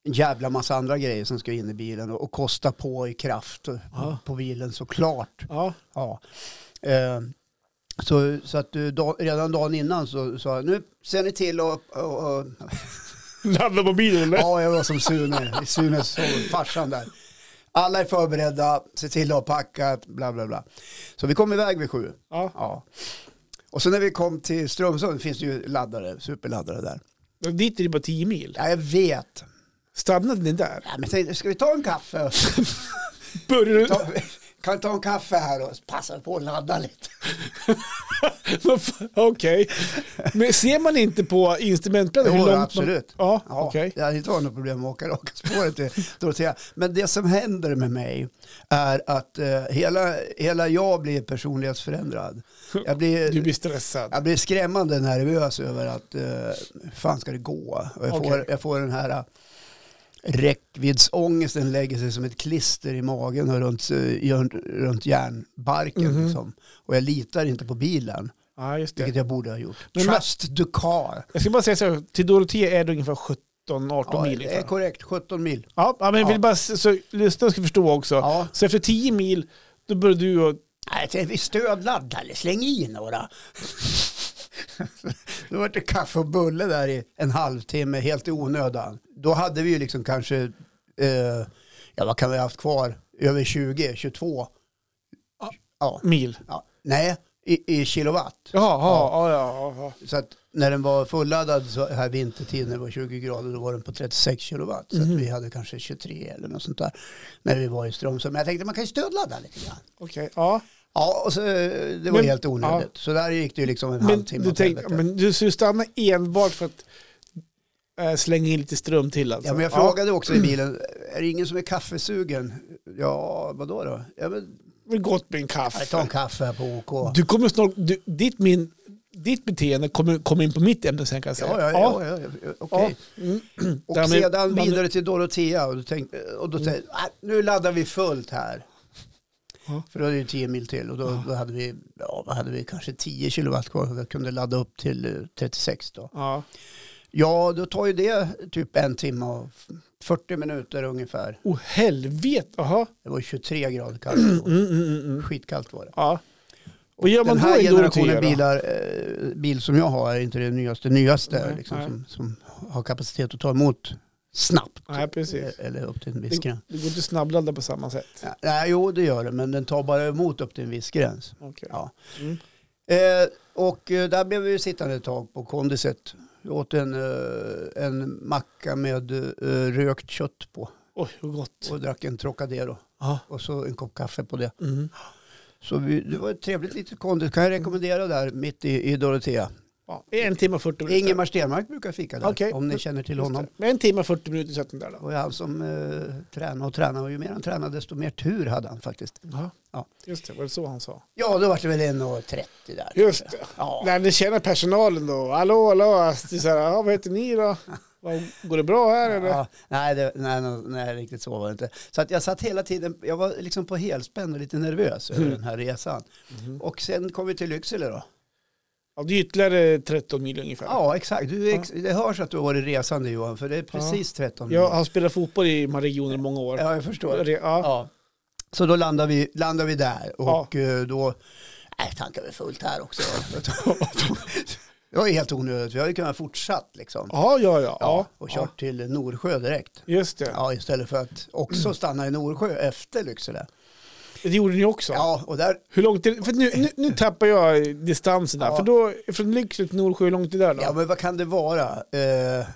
Speaker 1: jävla massa andra grejer som ska in i bilen och, och kosta på i kraft
Speaker 2: Ja.
Speaker 1: på bilen såklart.
Speaker 2: Ja.
Speaker 1: Ja. Eh, så så att du, da, redan dagen innan så sa jag, nu ser ni till att... Och, och,
Speaker 2: Ladda mobilen eller?
Speaker 1: ja, jag var som Sune, Sunes son, farsan där. Alla är förberedda, se till att ha packat, bla bla bla. Så vi kom iväg vid sju.
Speaker 2: Ja.
Speaker 1: Ja. Och så när vi kom till Strömsund finns det ju laddare, superladdare där.
Speaker 2: Dit är det bara 10 mil.
Speaker 1: Ja, jag vet.
Speaker 2: Stannade ni där?
Speaker 1: Ja, men tänkte, ska vi ta en kaffe?
Speaker 2: Började du...
Speaker 1: Ta, kan vi ta en kaffe här och passa på att ladda lite?
Speaker 2: Vad fan, Okej. Men ser man inte på instrumentbrädan
Speaker 1: Jo,
Speaker 2: hur långt
Speaker 1: absolut.
Speaker 2: man... Ja,
Speaker 1: Ja,
Speaker 2: okej.
Speaker 1: Jag hade inte varit något problem att åka raka spåret till Dorotea. Men det som händer med mig är att eh, hela, hela jag blir personlighetsförändrad. Jag blir,
Speaker 2: Du blir stressad.
Speaker 1: Jag blir skrämmande nervös över att eh, hur fan ska det gå? Och jag, får,
Speaker 2: Okej.
Speaker 1: jag får den här eh, räckviddsångesten lägger sig som ett klister i magen och runt, eh, i- runt järnbarken.
Speaker 2: Mhm.
Speaker 1: Liksom. Och jag litar inte på bilen,
Speaker 2: Ja, just
Speaker 1: vilket
Speaker 2: det.
Speaker 1: jag borde ha gjort.
Speaker 2: Men-
Speaker 1: Trust the car.
Speaker 2: Jag ska bara säga så här, till Dorotea är det ungefär 17-18
Speaker 1: Ja,
Speaker 2: mil. liksom.
Speaker 1: det är
Speaker 2: ungefär.
Speaker 1: korrekt, 17 mil.
Speaker 2: Ja, ja, men jag
Speaker 1: Ja.
Speaker 2: vill bara s- så lyssnarna ska förstå också.
Speaker 1: Ja.
Speaker 2: Så efter 10 mil, då börjar du och...
Speaker 1: Nej, det är vi stödladdar, släng i några. Då var det kaffe och bulle där i en halvtimme helt i onödan. Då hade vi ju liksom kanske, eh, ja vad kan vi ha haft kvar, över 20, 22.
Speaker 2: Ja.
Speaker 1: Ja,
Speaker 2: Mil.
Speaker 1: ja. Nej, i, i kilowatt.
Speaker 2: Jaha, ja, ja, ja. ja.
Speaker 1: Så att när den var fulladdad så här vintertid när det var 20 grader då var den på 36 kilowatt. Så att vi hade kanske 23 eller något sånt där när vi var i Strömsund. Men jag tänkte man kan ju stödladda lite grann.
Speaker 2: Okej, ja.
Speaker 1: Ja, och så, eh, det var
Speaker 2: Men-
Speaker 1: helt onödigt. Så där gick det ju liksom en
Speaker 2: Men
Speaker 1: halvtimme
Speaker 2: du,
Speaker 1: åt
Speaker 2: tänk,
Speaker 1: helvete.
Speaker 2: men du, så du stannar enbart för att eh, slänga in lite ström till alltså?
Speaker 1: Ja, men jag frågade också i bilen, är det ingen som är kaffesugen? Ja, vadå då? Ja, men,
Speaker 2: Ja, men gott med en
Speaker 1: jag
Speaker 2: kaffe.
Speaker 1: tar en kaffe här på OK.
Speaker 2: Du kommer snart, du, ditt, min, ditt beteende kommer, kommer in på mitt ämne sen kan jag säga. Mm.
Speaker 1: Ja, ja, ja, ja, ja, okej. Och
Speaker 2: Ja, men-
Speaker 1: sedan
Speaker 2: man-
Speaker 1: vidare till Dorotea och, då tänkte, och då tänkte "Ah, nu laddar vi fullt här.
Speaker 2: Ja.
Speaker 1: För då är det ju 10 mil till och då, då hade, vi, ja, vad hade vi kanske 10 kilowatt kvar och jag kunde ladda upp till eh, 36 då.
Speaker 2: ja.
Speaker 1: Ja, då tar ju det typ en timme och 40 minuter ungefär.
Speaker 2: Oh helvete, jaha.
Speaker 1: Det var 23 grader kallt. då.
Speaker 2: Mm, mm, mm, mm.
Speaker 1: Skitkallt var det.
Speaker 2: Ja. Vad gör man
Speaker 1: den
Speaker 2: då
Speaker 1: här
Speaker 2: i
Speaker 1: generationen
Speaker 2: Dorotea? då?
Speaker 1: bilar, eh, bil som jag har är inte det nyaste, nyaste
Speaker 2: Nej,
Speaker 1: liksom,
Speaker 2: nej.
Speaker 1: Som, som har kapacitet att ta emot snabbt.
Speaker 2: Nej, precis.
Speaker 1: Eh, Eller upp till en viss gräns.
Speaker 2: Det går inte att snabbladda på samma sätt.
Speaker 1: Ja, nej, jo det gör det, men den tar bara emot upp till en viss gräns.
Speaker 2: Okej.
Speaker 1: Ja.
Speaker 2: Mm.
Speaker 1: Eh, och eh, där blev vi ju sittande ett tag på kondiset. Jag åt en, eh, en macka med eh, rökt kött på
Speaker 2: Oj, vad gott.
Speaker 1: och drack en Trocadero
Speaker 2: Ja.
Speaker 1: och så en kopp kaffe på det.
Speaker 2: Mm.
Speaker 1: Så vi, det var ett trevligt litet kondis, kan jag rekommendera där mitt i, i Dorotea.
Speaker 2: Ja, en timme och 40 minuter.
Speaker 1: Ingemar Stenmark brukar fika där,
Speaker 2: Okej.
Speaker 1: om ni känner till
Speaker 2: Just det.
Speaker 1: honom.
Speaker 2: Men en timme och 40 minuter satt den där
Speaker 1: Det
Speaker 2: då.
Speaker 1: var ju han som eh, tränade och tränade och ju mer han tränade desto mer tur hade han faktiskt.
Speaker 2: Ja.
Speaker 1: Ja.
Speaker 2: Just det, var det så han sa?
Speaker 1: Ja, då var det väl 1,30 där.
Speaker 2: Just det.
Speaker 1: Ja.
Speaker 2: När ni känner personalen då, hallå, hallå, det är så här, ja, vad heter ni då? Vad- Går det bra här eller?
Speaker 1: Ja, nej, det, nej, nej, nej, riktigt så var det inte. Så att jag satt hela tiden, jag var liksom på helspänn och lite nervös över den här resan.
Speaker 2: Mhm.
Speaker 1: Och sen kom vi till Lycksele då.
Speaker 2: Ja, det är ytterligare 13 mil ungefär.
Speaker 1: Ja, exakt. Du, är ex- det hörs att du har varit resande Johan, för det är precis 13
Speaker 2: Jag har spelat fotboll i de här regionerna i många år.
Speaker 1: Ja, jag förstår.
Speaker 2: Re- ja.
Speaker 1: Ja. Så då landar vi, landar vi där och eh, då, nej tankar vi fullt här också. det var ju helt onödigt, vi hade ju kunnat fortsatt liksom.
Speaker 2: Ja, ja, ja.
Speaker 1: Ja,
Speaker 2: ja.
Speaker 1: och kört till Norsjö direkt.
Speaker 2: Ja, Just det.
Speaker 1: Ja, istället för att också stanna i Norsjö efter Lycksele.
Speaker 2: Det gjorde ni också.
Speaker 1: Ja, och där,
Speaker 2: Hur långt är det? För nu, nu, nu tappar jag distansen där.
Speaker 1: Ja.
Speaker 2: För då, från Lycksele till Norsjö, hur långt är det där då?
Speaker 1: ja men vad kan det vara? Eh,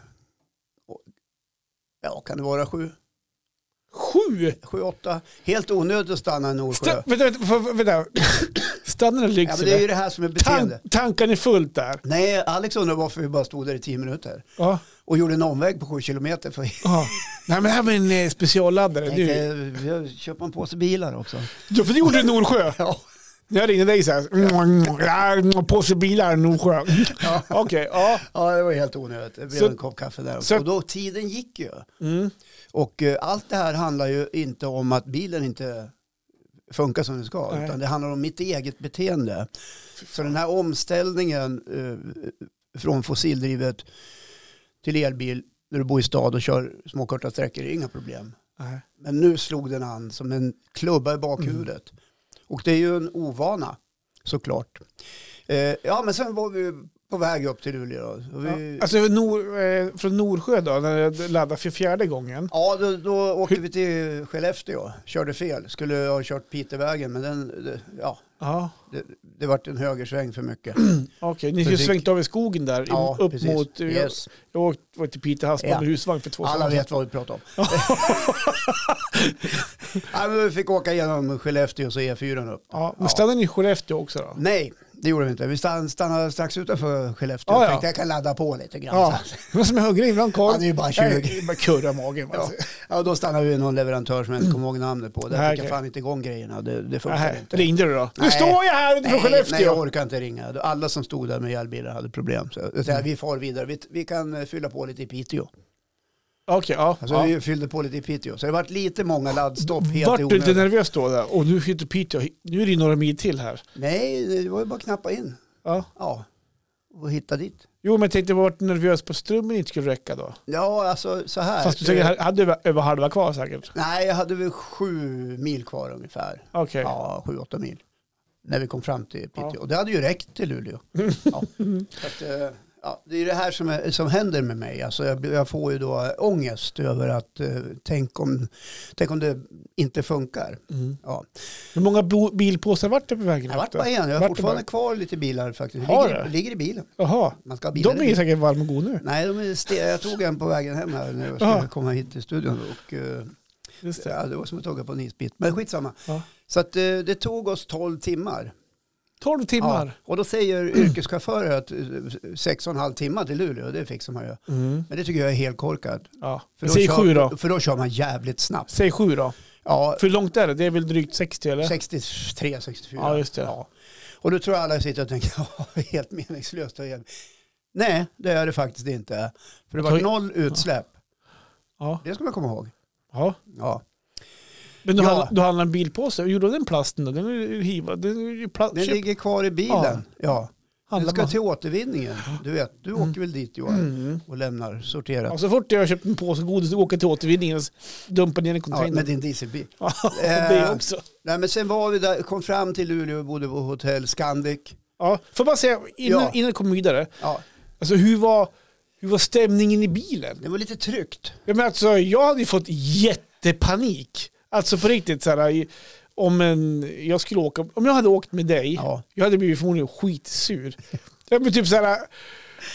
Speaker 1: och- ja, kan det vara sju,
Speaker 2: Sju!
Speaker 1: sju, åtta? Helt onödigt att stanna i Norsjö.
Speaker 2: Sta- vänta, vänta, för- vänta.
Speaker 1: Ja,
Speaker 2: Stannar i
Speaker 1: men det är
Speaker 2: Lycksele?
Speaker 1: ju det här som är
Speaker 2: Tan
Speaker 1: beteende.
Speaker 2: tankarna är fullt där.
Speaker 1: Nej, Alex undrar varför vi bara stod där i tio minuter.
Speaker 2: Ja.
Speaker 1: och gjorde en omväg på 7 kilometer. För
Speaker 2: Ja. Nej men det här var en eh, specialladdare. Du,
Speaker 1: tänkte, vi köper en påse bilar också.
Speaker 2: ja, för det gjorde du i Norsjö.
Speaker 1: Ja.
Speaker 2: När jag ringde dig så här. Mm, ja, påse bilar Norsjö.
Speaker 1: Ja.
Speaker 2: Okej, ja.
Speaker 1: ja, det var helt onödigt. Det blev
Speaker 2: Så-
Speaker 1: en kopp kaffe där också.
Speaker 2: så-
Speaker 1: Och då, tiden gick ju.
Speaker 2: Mm.
Speaker 1: Och eh, allt det här handlar ju inte om att bilen inte funkar som den ska,
Speaker 2: Nej.
Speaker 1: utan det handlar om mitt eget beteende. Så den här omställningen eh, från fossildrivet till elbil när du bor i stad och kör små korta sträckor är inga problem.
Speaker 2: Nej.
Speaker 1: Men nu slog den an som en klubba i bakhuvudet.
Speaker 2: Mm.
Speaker 1: Och det är ju en ovana såklart. Eh, ja men sen var vi på väg upp till Luleå. Och vi, ja.
Speaker 2: Alltså nor, eh, från Norsjö då, när jag laddade för fjärde gången.
Speaker 1: då, då åkte vi till Skellefteå, körde fel. Skulle ha kört Pitevägen men den, det, ja,
Speaker 2: Ja.
Speaker 1: det, det vart en högersväng för mycket.
Speaker 2: Okej, ni skulle
Speaker 1: Precis.
Speaker 2: svängt av i skogen där. i-
Speaker 1: Ja,
Speaker 2: upp
Speaker 1: precis.
Speaker 2: mot... eh, Jag,
Speaker 1: Yes.
Speaker 2: jag åkte, var till Piteå havsbad
Speaker 1: Ja.
Speaker 2: med husvagn för två
Speaker 1: Alla
Speaker 2: somrar sedan.
Speaker 1: vet vad vi pratar om. Nej, men vi fick åka genom Skellefteå och så E4 upp.
Speaker 2: Ja, men
Speaker 1: Ja.
Speaker 2: stannade ni i Skellefteå också då?
Speaker 1: Nej, det gjorde vi inte. Vi stann- stannade strax utanför Skellefteå.
Speaker 2: Ja,
Speaker 1: Jag
Speaker 2: ja.
Speaker 1: tänkte jag kan ladda på lite grann.
Speaker 2: Ja, men som är hungrig ibland Karl.
Speaker 1: Han är ju bara
Speaker 2: Nej,
Speaker 1: 20.
Speaker 2: det är bara kurra i magen.
Speaker 1: Ja.
Speaker 2: Alltså.
Speaker 1: ja, då stannade vi vid någon leverantör som jag inte kommer ihåg namnet på. Där
Speaker 2: Nej,
Speaker 1: fick jag
Speaker 2: okej.
Speaker 1: fan inte igång grejerna. Det, det funkade
Speaker 2: Nej,
Speaker 1: inte.
Speaker 2: ringde du då? Nu
Speaker 1: Nej.
Speaker 2: står jag här utanför
Speaker 1: Nej, nej, jag
Speaker 2: Skellefteå.
Speaker 1: orkar inte ringa. Alla som stod där med elbilar hade problem. Så jag,
Speaker 2: Mm.
Speaker 1: sa, vi far vidare. Vi, vi kan eh, fylla på lite i Piteå.
Speaker 2: Okej, ja.
Speaker 1: Alltså,
Speaker 2: ja.
Speaker 1: Vi fyllde på lite i Piteå. Så det vart lite många laddstopp helt i
Speaker 2: Vart du lite
Speaker 1: onödan.
Speaker 2: nervös då? Där? Och nu sitter Piteå. Nu är det ju några mil till här.
Speaker 1: Nej, det var ju bara att knappa in.
Speaker 2: Ja.
Speaker 1: Ja, och hitta dit.
Speaker 2: Jo, men jag tänkte vart nervös på strömmen inte skulle räcka då.
Speaker 1: Ja, alltså så här. Eh,
Speaker 2: Fast du säkert hade över, över halva kvar säkert.
Speaker 1: Nej, jag hade väl sju mil kvar ungefär.
Speaker 2: Okej.
Speaker 1: Ja, sju, åtta mil. När vi kom fram till Piteå.
Speaker 2: Ja. Mm.
Speaker 1: Och det hade ju räckt till Luleå. Ja. Så att, eh, ja, det är det här som, är, som händer med mig. Alltså jag, blir- jag får ju då ångest över att eh, tänk, om, tänk om det inte funkar.
Speaker 2: Mm.
Speaker 1: Ja.
Speaker 2: Hur många bo- bilpåsar vart det på vägen?
Speaker 1: Jag vart
Speaker 2: upp då?
Speaker 1: bara en. Jag
Speaker 2: Vart
Speaker 1: har
Speaker 2: det
Speaker 1: fortfarande
Speaker 2: bara?
Speaker 1: kvar lite bilar faktiskt. Det
Speaker 2: Har
Speaker 1: ligger,
Speaker 2: du?
Speaker 1: ligger i bilen.
Speaker 2: Jaha.
Speaker 1: Man ska ha bilar i
Speaker 2: De är ju
Speaker 1: bilen.
Speaker 2: säkert varma och goda nu.
Speaker 1: Nej, de är ste- jag tog en på vägen hem här när jag skulle
Speaker 2: Ja.
Speaker 1: komma hit till studion. Och, eh,
Speaker 2: Just det.
Speaker 1: ja, det var som att tugga på en isbit. Men skitsamma.
Speaker 2: Ja.
Speaker 1: Så att, eh, det tog oss 12 timmar.
Speaker 2: 12
Speaker 1: Ja,
Speaker 2: timmar.
Speaker 1: och då säger yrkeschaufförer att eh, sex och en halv timme till Luleå, det fixar man ju.
Speaker 2: Ja. Mm.
Speaker 1: Men det tycker jag är helt korkat.
Speaker 2: ja.
Speaker 1: För då,
Speaker 2: Säg
Speaker 1: kör,
Speaker 2: sju då.
Speaker 1: för då kör man jävligt snabbt.
Speaker 2: Säg sju då.
Speaker 1: Ja,
Speaker 2: För hur långt är det? Det är väl drygt 60 eller?
Speaker 1: 63, 64.
Speaker 2: Ja, just det.
Speaker 1: Och då tror jag alla sitter och tänker, ja, det är helt meningslöst. och jävligt." Nej, det är det faktiskt inte. För det
Speaker 2: Jag
Speaker 1: var
Speaker 2: tar-
Speaker 1: noll utsläpp.
Speaker 2: Ja.
Speaker 1: Det ska man komma ihåg.
Speaker 2: ja.
Speaker 1: Ja.
Speaker 2: Men du,
Speaker 1: Ja.
Speaker 2: handlar, du handlar en bilpåse. Hur gjorde du den plasten då? Den är ju hivad. Den är ju pla-
Speaker 1: Den
Speaker 2: köpt-
Speaker 1: ligger kvar i bilen. Ja. Den
Speaker 2: Handlar
Speaker 1: ska
Speaker 2: man-
Speaker 1: till återvinningen. Du vet, du åker väl dit Johan och lämnar sorterat.
Speaker 2: Mm. Ja, så fort jag har köpt en påse godis och åker jag till återvinningen och dumpar ner i
Speaker 1: Ja, med
Speaker 2: containern.
Speaker 1: din dieselbil.
Speaker 2: Ja, det
Speaker 1: Eh,
Speaker 2: också.
Speaker 1: Nej, men sen var vi där, kom fram till Luleå och bodde på hotell Scandic.
Speaker 2: Ja, får bara säga, innan,
Speaker 1: Ja.
Speaker 2: innan jag kommer vidare,
Speaker 1: Ja,
Speaker 2: alltså, hur, var, hur var stämningen i bilen?
Speaker 1: det var lite tryggt.
Speaker 2: Jag, menar, alltså, jag hade ju fått jättepanik. Alltså på riktigt, så här, i- om, en, jag skulle åka, om jag hade åkt med dig,
Speaker 1: Ja.
Speaker 2: jag hade blivit förmodligen skitsur. Jag blev typ så här,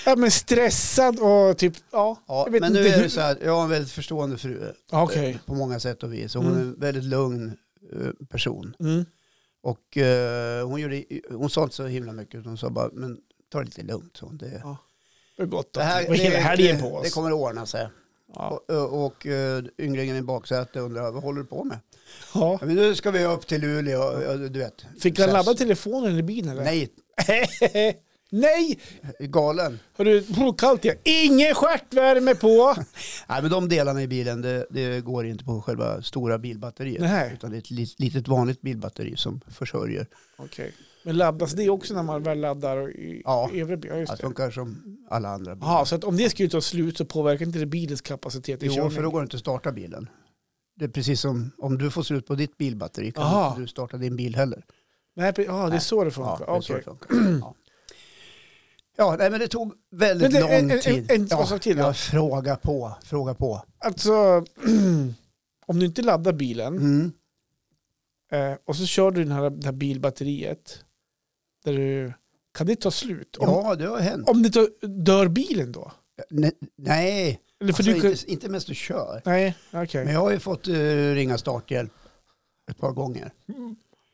Speaker 2: ja, men stressad och typ, ja,
Speaker 1: Ja,
Speaker 2: jag vet
Speaker 1: men
Speaker 2: inte
Speaker 1: nu är
Speaker 2: hur-
Speaker 1: det så här, jag har en väldigt förstående fru eh,
Speaker 2: Ja, Okej.
Speaker 1: på många sätt och vis. Hon är en väldigt lugn eh, person.
Speaker 2: Mm.
Speaker 1: Och eh, hon, gjorde, hon sa inte så himla mycket, utan hon sa bara, men ta det lite lugnt. Så det,
Speaker 2: Ja, Det har gått
Speaker 1: det
Speaker 2: det
Speaker 1: här,
Speaker 2: var hela helgen på
Speaker 1: det,
Speaker 2: oss.
Speaker 1: det kommer att ordna sig.
Speaker 2: ja.
Speaker 1: Och, och, och eh, ynglingen i baksätet undrar, vad håller du på med?
Speaker 2: Ja.
Speaker 1: Ja, men nu ska vi upp till Luleå, ja, du vet.
Speaker 2: Fick han ladda telefonen i bilen eller?
Speaker 1: Nej,
Speaker 2: Nej. Nej!
Speaker 1: galen.
Speaker 2: Hörru, pff, kallt igen. Ingen stjärtvärme på!
Speaker 1: Nej, men de delarna i bilen, det, det går inte på själva stora bilbatteriet.
Speaker 2: Nej.
Speaker 1: Utan det är ett lit- litet vanligt bilbatteri som försörjer.
Speaker 2: Okej. Men laddas det också när man väl laddar i
Speaker 1: Ja.
Speaker 2: i övriga bilar? Ja,
Speaker 1: Det
Speaker 2: just det.
Speaker 1: funkar som alla andra bilar.
Speaker 2: Jaha, så att om det skulle ta slut så påverkar inte det bilens kapacitet i
Speaker 1: Jo, för då
Speaker 2: körning?
Speaker 1: går det inte att starta bilen. Det är precis som om du får slut på ditt bilbatteri kan
Speaker 2: Aha.
Speaker 1: inte du starta din bil heller.
Speaker 2: Nej, pre- ja, det är
Speaker 1: Nej.
Speaker 2: så det
Speaker 1: Ja,
Speaker 2: funkar.
Speaker 1: det är så det
Speaker 2: Okej.
Speaker 1: funkar. Ja. Ja, nej, men det tog väldigt
Speaker 2: Men det- en-
Speaker 1: lång
Speaker 2: en-
Speaker 1: tid.
Speaker 2: en- en
Speaker 1: ja,
Speaker 2: sak till då.
Speaker 1: ja, fråga på, fråga på.
Speaker 2: Alltså, om du inte laddar bilen
Speaker 1: Mm.
Speaker 2: eh, och så kör du den här, det här bilbatteriet, där du, kan det ta slut? Om,
Speaker 1: Ja, det har hänt.
Speaker 2: om det tar, dör bilen då?
Speaker 1: Ne- Nej,
Speaker 2: Eller för
Speaker 1: alltså,
Speaker 2: du kan,
Speaker 1: inte, inte mest du kör.
Speaker 2: Nej, okej.
Speaker 1: Men jag har ju fått eh, ringa starthjälp ett par gånger.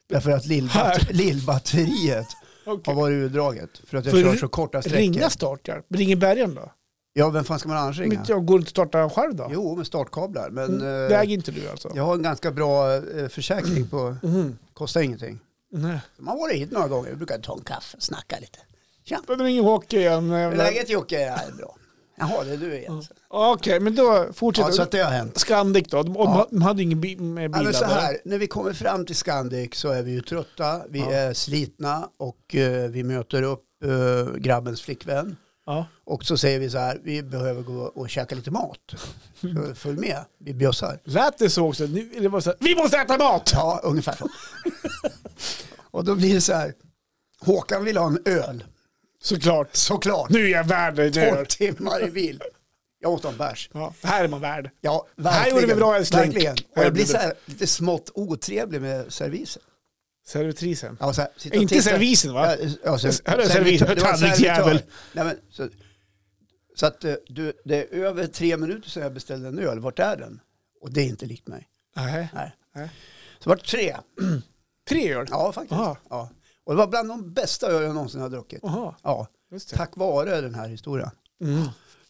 Speaker 1: Därför att
Speaker 2: Här.
Speaker 1: lillbat- lillbatteriet har
Speaker 2: Okej.
Speaker 1: varit urdraget. För att jag
Speaker 2: För
Speaker 1: kör
Speaker 2: ri-
Speaker 1: så korta sträckor.
Speaker 2: Ringa starthjälp? Ringer bärgaren då?
Speaker 1: Ja, vem fan ska man annars ringa?
Speaker 2: Men jag går inte att starta den själv då?
Speaker 1: Jo, med startkablar. Men
Speaker 2: Mm,
Speaker 1: eh,
Speaker 2: det äger inte du alltså?
Speaker 1: jag har en ganska bra eh, försäkring på,
Speaker 2: Mhm.
Speaker 1: kostar ingenting.
Speaker 2: Nej.
Speaker 1: Så Man har varit hit några gånger, vi brukar ta en kaffe, snacka lite. Tja,
Speaker 2: Men det ringer Håke igen. eh,
Speaker 1: hur är
Speaker 2: jävla-
Speaker 1: läget Jocke? Ja, det är bra. Jaha, det är du igen.
Speaker 2: Okej, men då fortsätter
Speaker 1: Ja, så att det har hänt.
Speaker 2: Scandic då, de,
Speaker 1: Ja.
Speaker 2: de hade ingen bi- med
Speaker 1: Ja,
Speaker 2: bilar
Speaker 1: men så
Speaker 2: där.
Speaker 1: här, när vi kommer fram till Scandic så är vi ju trötta, vi
Speaker 2: Ja.
Speaker 1: är slitna och eh, vi möter upp eh, grabbens flickvän.
Speaker 2: Ja.
Speaker 1: Och så säger vi så här, vi behöver gå och käka lite mat. Så Följ med, vi bjössar.
Speaker 2: Lät det så också? Nu, eller var det så här, vi måste äta mat!
Speaker 1: Ja, ungefär så. och då blir det så här, Håkan vill ha en öl,
Speaker 2: Såklart.
Speaker 1: såklart.
Speaker 2: Nu är jag värd det. det
Speaker 1: Två
Speaker 2: är-
Speaker 1: timmar i bil. Jag åt en bärs.
Speaker 2: Ja, det här är man värd.
Speaker 1: Ja,
Speaker 2: här
Speaker 1: verkligen.
Speaker 2: gjorde vi bra, älskling.
Speaker 1: verkligen.
Speaker 2: Ja,
Speaker 1: Och jag blir
Speaker 2: det-
Speaker 1: så här lite smått otrevlig med servisen.
Speaker 2: Servitrisen.
Speaker 1: Ja, så här, sitta och
Speaker 2: inte
Speaker 1: titta.
Speaker 2: servisen va?
Speaker 1: Ja, ja, så,
Speaker 2: Här är servitör,
Speaker 1: det var
Speaker 2: tallriksjävel.
Speaker 1: servitör. Nej, men, så, så att eh, du, det är över tre minuter sedan jag beställde en öl. Vart är den? Och det är inte likt mig.
Speaker 2: Nej.
Speaker 1: Nej.
Speaker 2: Nej.
Speaker 1: Så vart tre.
Speaker 2: Tre öl?
Speaker 1: Ja, faktiskt.
Speaker 2: Aha.
Speaker 1: Ja. Och det var bland de bästa öl jag någonsin har druckit.
Speaker 2: Jaha,
Speaker 1: Ja,
Speaker 2: just det.
Speaker 1: tack vare den här historien.
Speaker 2: Mm.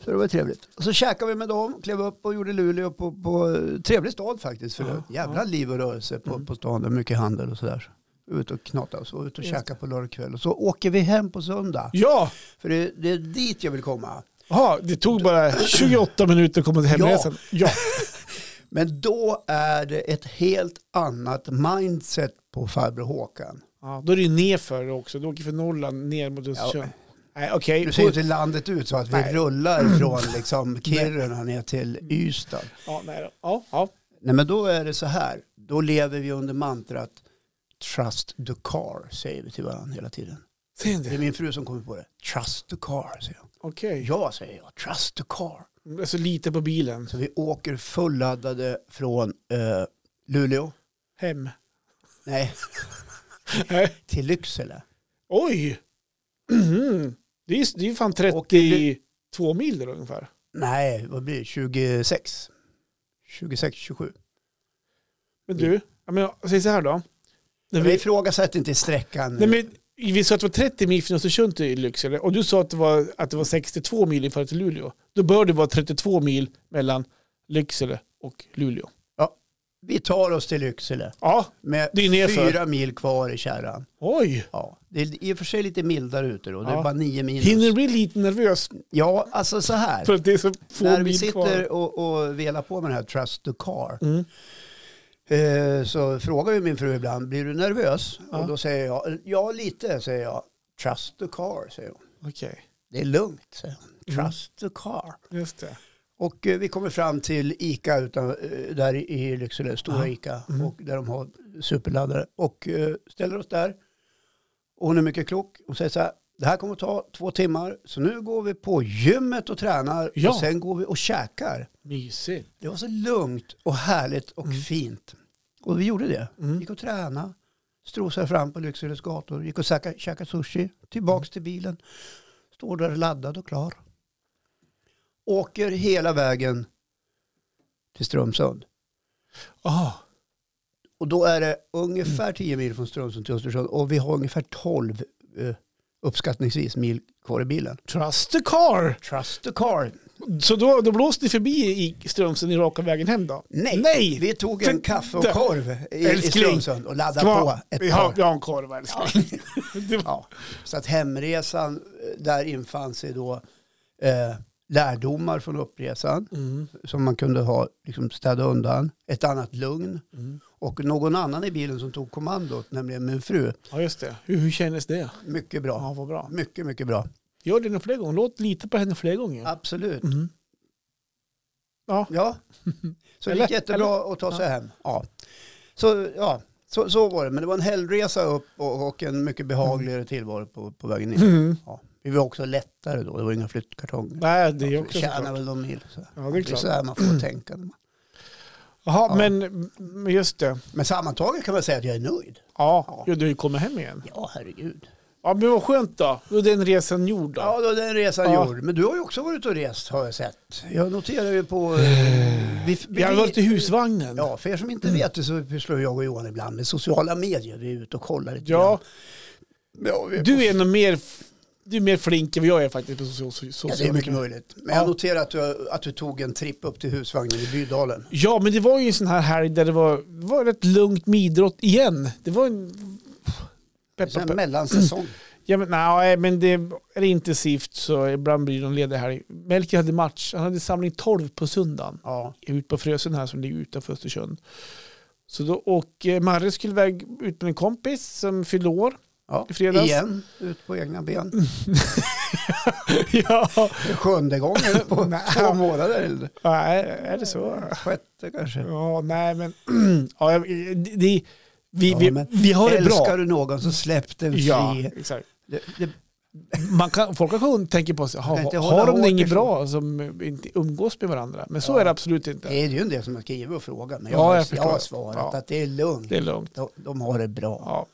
Speaker 1: Så det var trevligt. Och så käkade vi med dem, klev upp och gjorde Luleå på, på eh, trevlig stad faktiskt. För det var jävla liv och rörelse på,
Speaker 2: Mm.
Speaker 1: på stan, och mycket handel och sådär. Ut och knata och så, ut och
Speaker 2: Just
Speaker 1: käka på lördag kväll. Och så åker vi hem på söndag.
Speaker 2: Ja,
Speaker 1: För det, det är dit jag vill komma.
Speaker 2: Jaha, det tog bara 28 minuter att komma till hemresan. Ja.
Speaker 1: Men då är det ett helt annat mindset på farbror Håkan.
Speaker 2: Ja, då är det ju nerför också. Du åker från Norrland ner mot Östersund. Nej, okej.
Speaker 1: Nu ser ju inte landet ut så att vi
Speaker 2: Nej.
Speaker 1: rullar från liksom Kiruna ner till Ystad.
Speaker 2: Ja, nej då. Ja, ja.
Speaker 1: Nej men då är det så här, då lever vi under mantrat Trust the car, säger vi till varandra hela tiden.
Speaker 2: Ser ni
Speaker 1: Det är
Speaker 2: det?
Speaker 1: min fru som kommer på det. Trust the car, säger hon.
Speaker 2: Okej.
Speaker 1: Ja, säger jag. Trust the car.
Speaker 2: Alltså lite på bilen.
Speaker 1: Så vi åker fulladdade från eh, Luleå,
Speaker 2: Hem.
Speaker 1: nej,
Speaker 2: Nej.
Speaker 1: till Lycksele.
Speaker 2: Oj! Mhm. Det är ju det är ju fan
Speaker 1: Och det-
Speaker 2: 32 mil där ungefär.
Speaker 1: Nej, vad blir det? 26? 26, 27.
Speaker 2: Men du, jag menar, säg så här då. När
Speaker 1: Men vi
Speaker 2: vi,
Speaker 1: ifrågasätter inte sträckan.
Speaker 2: nej, men, vi sa att det var 30 mil från Östersund till Lycksele och du sa att det var, att det var 62 mil inför till Luleå. Då bör det vara 32 mil mellan Lycksele och Luleå.
Speaker 1: Vi tar oss till Lycksele
Speaker 2: Ja,
Speaker 1: med
Speaker 2: Det är nerför.
Speaker 1: fyra mil kvar i kärran.
Speaker 2: oj!
Speaker 1: Ja, det är i och för sig lite mildare ute då. Det är
Speaker 2: Ja.
Speaker 1: bara nio minus.
Speaker 2: Hinner du bli lite nervös
Speaker 1: Ja, alltså så här.
Speaker 2: för att det är så få
Speaker 1: När vi
Speaker 2: mil kvar?
Speaker 1: sitter och, och velar på med den här Trust the Car
Speaker 2: Mm.
Speaker 1: eh, så frågar ju min fru ibland, blir du nervös?
Speaker 2: Ja.
Speaker 1: Och då säger jag, ja lite säger jag. Trust the car, säger hon.
Speaker 2: Okej,
Speaker 1: Det är lugnt, säger hon.
Speaker 2: Mm.
Speaker 1: Trust the car.
Speaker 2: just det.
Speaker 1: Och eh, vi kommer fram till ICA utan, eh, där i Lycksele, stora
Speaker 2: Ja.
Speaker 1: ICA,
Speaker 2: Mm.
Speaker 1: och där de har superladdare. Och eh, ställer oss där. Och hon är mycket klok. Hon säger så här, det här kommer att ta två timmar, så nu går vi på gymmet och tränar
Speaker 2: Ja.
Speaker 1: och sen går vi och käkar.
Speaker 2: Mysigt.
Speaker 1: Det var så lugnt och härligt och fint. Och vi gjorde det.
Speaker 2: Mm.
Speaker 1: Gick och tränade, strosade fram på Lyckseles gator, gick och käkade, käkade sushi, tillbaks
Speaker 2: Mm.
Speaker 1: till bilen. Står där laddad och klar. Åker hela vägen till Strömsund.
Speaker 2: Aha.
Speaker 1: Och då är det
Speaker 2: Mm.
Speaker 1: ungefär 10 mil från Strömsund till Östersund och vi har ungefär 12 eh, uppskattningsvis mil kvar i bilen.
Speaker 2: Trust the car!
Speaker 1: Trust the car.
Speaker 2: Så då, då blåste ni förbi i Strömsen i raka vägen hem då?
Speaker 1: Nej,
Speaker 2: Nej!
Speaker 1: vi tog en
Speaker 2: Titta.
Speaker 1: kaffe och korv i, i
Speaker 2: Älskling.
Speaker 1: Strömsund och laddade på ett
Speaker 2: vi,
Speaker 1: par.
Speaker 2: har, vi har en korv älskling. Det var-
Speaker 1: Ja, så att hemresan, eh, där infann sig då eh, lärdomar från uppresan
Speaker 2: Mm.
Speaker 1: som man kunde ha, liksom städa undan, ett annat lugn
Speaker 2: Mm.
Speaker 1: och någon annan i bilen som tog kommandot, nämligen min fru.
Speaker 2: Ja just det. Hur, hur kändes det?
Speaker 1: Mycket bra.
Speaker 2: Ja vad bra.
Speaker 1: Mycket, mycket bra.
Speaker 2: Gör det nog fler gånger. Låt lita på henne fler gånger.
Speaker 1: Absolut.
Speaker 2: Mm. Ja.
Speaker 1: Ja, så det
Speaker 2: Eller-
Speaker 1: gick jättebra att ta sig hem. Ja. Så, ja, så, så var det, men det var en helgresa upp och, och en mycket behagligare tillvaro på, på vägen ner.
Speaker 2: Mm.
Speaker 1: Ja. Vi var också lättare då, det var inga flyttkartonger.
Speaker 2: Nej det är
Speaker 1: Ja,
Speaker 2: också
Speaker 1: tjänar
Speaker 2: såklart.
Speaker 1: väl de mil. Så.
Speaker 2: Ja det är
Speaker 1: Det är
Speaker 2: klart.
Speaker 1: så här man får tänka. när man-
Speaker 2: Jaha
Speaker 1: Ja.
Speaker 2: men men just det.
Speaker 1: Men sammantaget kan man säga att jag är nöjd.
Speaker 2: Ja, ja. du har ju kommit hem igen.
Speaker 1: Ja, herregud.
Speaker 2: Ja men vad skönt då. Då är den resan gjord då.
Speaker 1: Ja, då är den resan
Speaker 2: Ja.
Speaker 1: gjord. Men du har ju också varit ute och rest har jag sett. Jag noterar ju på... eh, vi- vi-
Speaker 2: Jag har varit i Mm. husvagnen.
Speaker 1: Ja, för er som inte vet det så pysslar jag och Johan ibland med sociala medier. Vi är ute och kollar lite
Speaker 2: Ja,
Speaker 1: grann. Ja, vi är på-
Speaker 2: du är nog mer, f- du är mer flink än vad jag är faktiskt på social, social,
Speaker 1: Ja, det är
Speaker 2: social-
Speaker 1: mycket möjligt. Men
Speaker 2: Ja.
Speaker 1: jag noterar att du, att du tog en tripp upp till husvagnen i Bydalen.
Speaker 2: Ja, men det var ju en sån här helg där det var, det var rätt lugnt med idrott igen. Det var en...
Speaker 1: Det är
Speaker 2: Peppa,
Speaker 1: en
Speaker 2: peppa.
Speaker 1: mellansäsong.
Speaker 2: Ja, men, nej, men det är intensivt så ibland blir det någon ledig helg. Melker hade match, han hade samling 12 på söndagen
Speaker 1: Ja.
Speaker 2: ut på Frösön här som ligger utanför Östersund. Så då, och eh, Marre skulle iväg ut med en kompis som fyllde år.
Speaker 1: Ja.
Speaker 2: I fredags. Mm.
Speaker 1: Igen, ut på egna ben.
Speaker 2: ja,
Speaker 1: Sjunde gången på två månader. eller?
Speaker 2: nej, är det så?
Speaker 1: Sjätte kanske.
Speaker 2: Ja, nej men... ja, jag- det, det, vi,
Speaker 1: Ja,
Speaker 2: vi,
Speaker 1: men
Speaker 2: vi har det
Speaker 1: Älskar
Speaker 2: bra.
Speaker 1: du någon så släpp den fri.
Speaker 2: Ja, exakt.
Speaker 1: Det, det,
Speaker 2: Man kan, folk kanske tänker på sig,
Speaker 1: kan
Speaker 2: ha,
Speaker 1: inte
Speaker 2: har
Speaker 1: hålla
Speaker 2: de
Speaker 1: hårt
Speaker 2: det inget
Speaker 1: ifrån.
Speaker 2: bra som inte umgås med varandra? Men så
Speaker 1: Ja.
Speaker 2: är det absolut
Speaker 1: det
Speaker 2: inte.
Speaker 1: är ju en del som har skrivit och frågat. Men
Speaker 2: Ja,
Speaker 1: jag, har-
Speaker 2: jag
Speaker 1: jag
Speaker 2: förstår.
Speaker 1: har svarat
Speaker 2: Ja.
Speaker 1: att det är lugnt.
Speaker 2: Det är lugnt.
Speaker 1: De, de har det bra.
Speaker 2: Ja.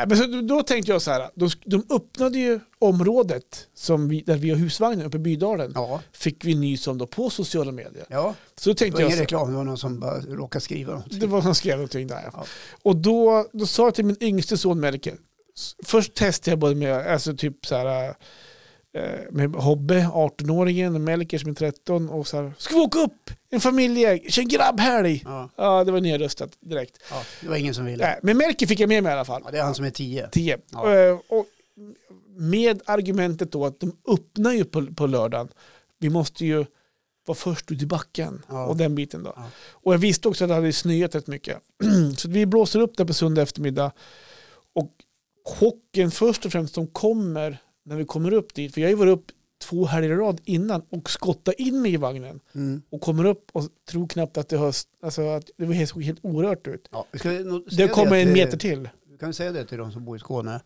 Speaker 2: Äh, Men så, då tänkte jag så här, de, sk- de öppnade ju området som vi, där vi har husvagnen uppe i Bydalen.
Speaker 1: Ja,
Speaker 2: Fick vi nys om då på sociala medier.
Speaker 1: ja.
Speaker 2: Så då
Speaker 1: det
Speaker 2: tänkte
Speaker 1: var
Speaker 2: jag
Speaker 1: ingen
Speaker 2: så,
Speaker 1: reklam. Det var någon som bara råkade skriva något.
Speaker 2: det var någon som skrev någonting där.
Speaker 1: Ja.
Speaker 2: Och då, då sa jag till min yngste son Melker, s- först testade jag både med, alltså typ så här, eh, med Hobbe, 18-åringen, och Melker som är 13 och så här, ska vi åka upp en familjeägg, kör en grabbhelg.
Speaker 1: Ja,
Speaker 2: Ja, det var nedröstat direkt.
Speaker 1: ja, det var ingen som ville.
Speaker 2: Nej, men Melker fick jag med mig i alla fall,
Speaker 1: Ja, det är han som är tio.
Speaker 2: 10.
Speaker 1: Ja.
Speaker 2: Eh, och med argumentet då att de öppnar ju på, på lördagen, vi måste ju vara först ut i backen
Speaker 1: Ja.
Speaker 2: och den biten då.
Speaker 1: Ja.
Speaker 2: Och jag visste också att det hade snöat rätt mycket. så vi blåser upp där på söndag eftermiddag och chocken först och främst som kommer när vi kommer upp dit, för jag har ju varit upp två helger i rad innan och skottat in mig i vagnen
Speaker 1: Mm.
Speaker 2: och kommer upp och tror knappt att det höst, alltså att det var helt- såg helt orört ut.
Speaker 1: Ja, vi ska ju nog säga
Speaker 2: Det kommer en
Speaker 1: till-
Speaker 2: meter till.
Speaker 1: Kan vi säga det till de som bor i Skåne?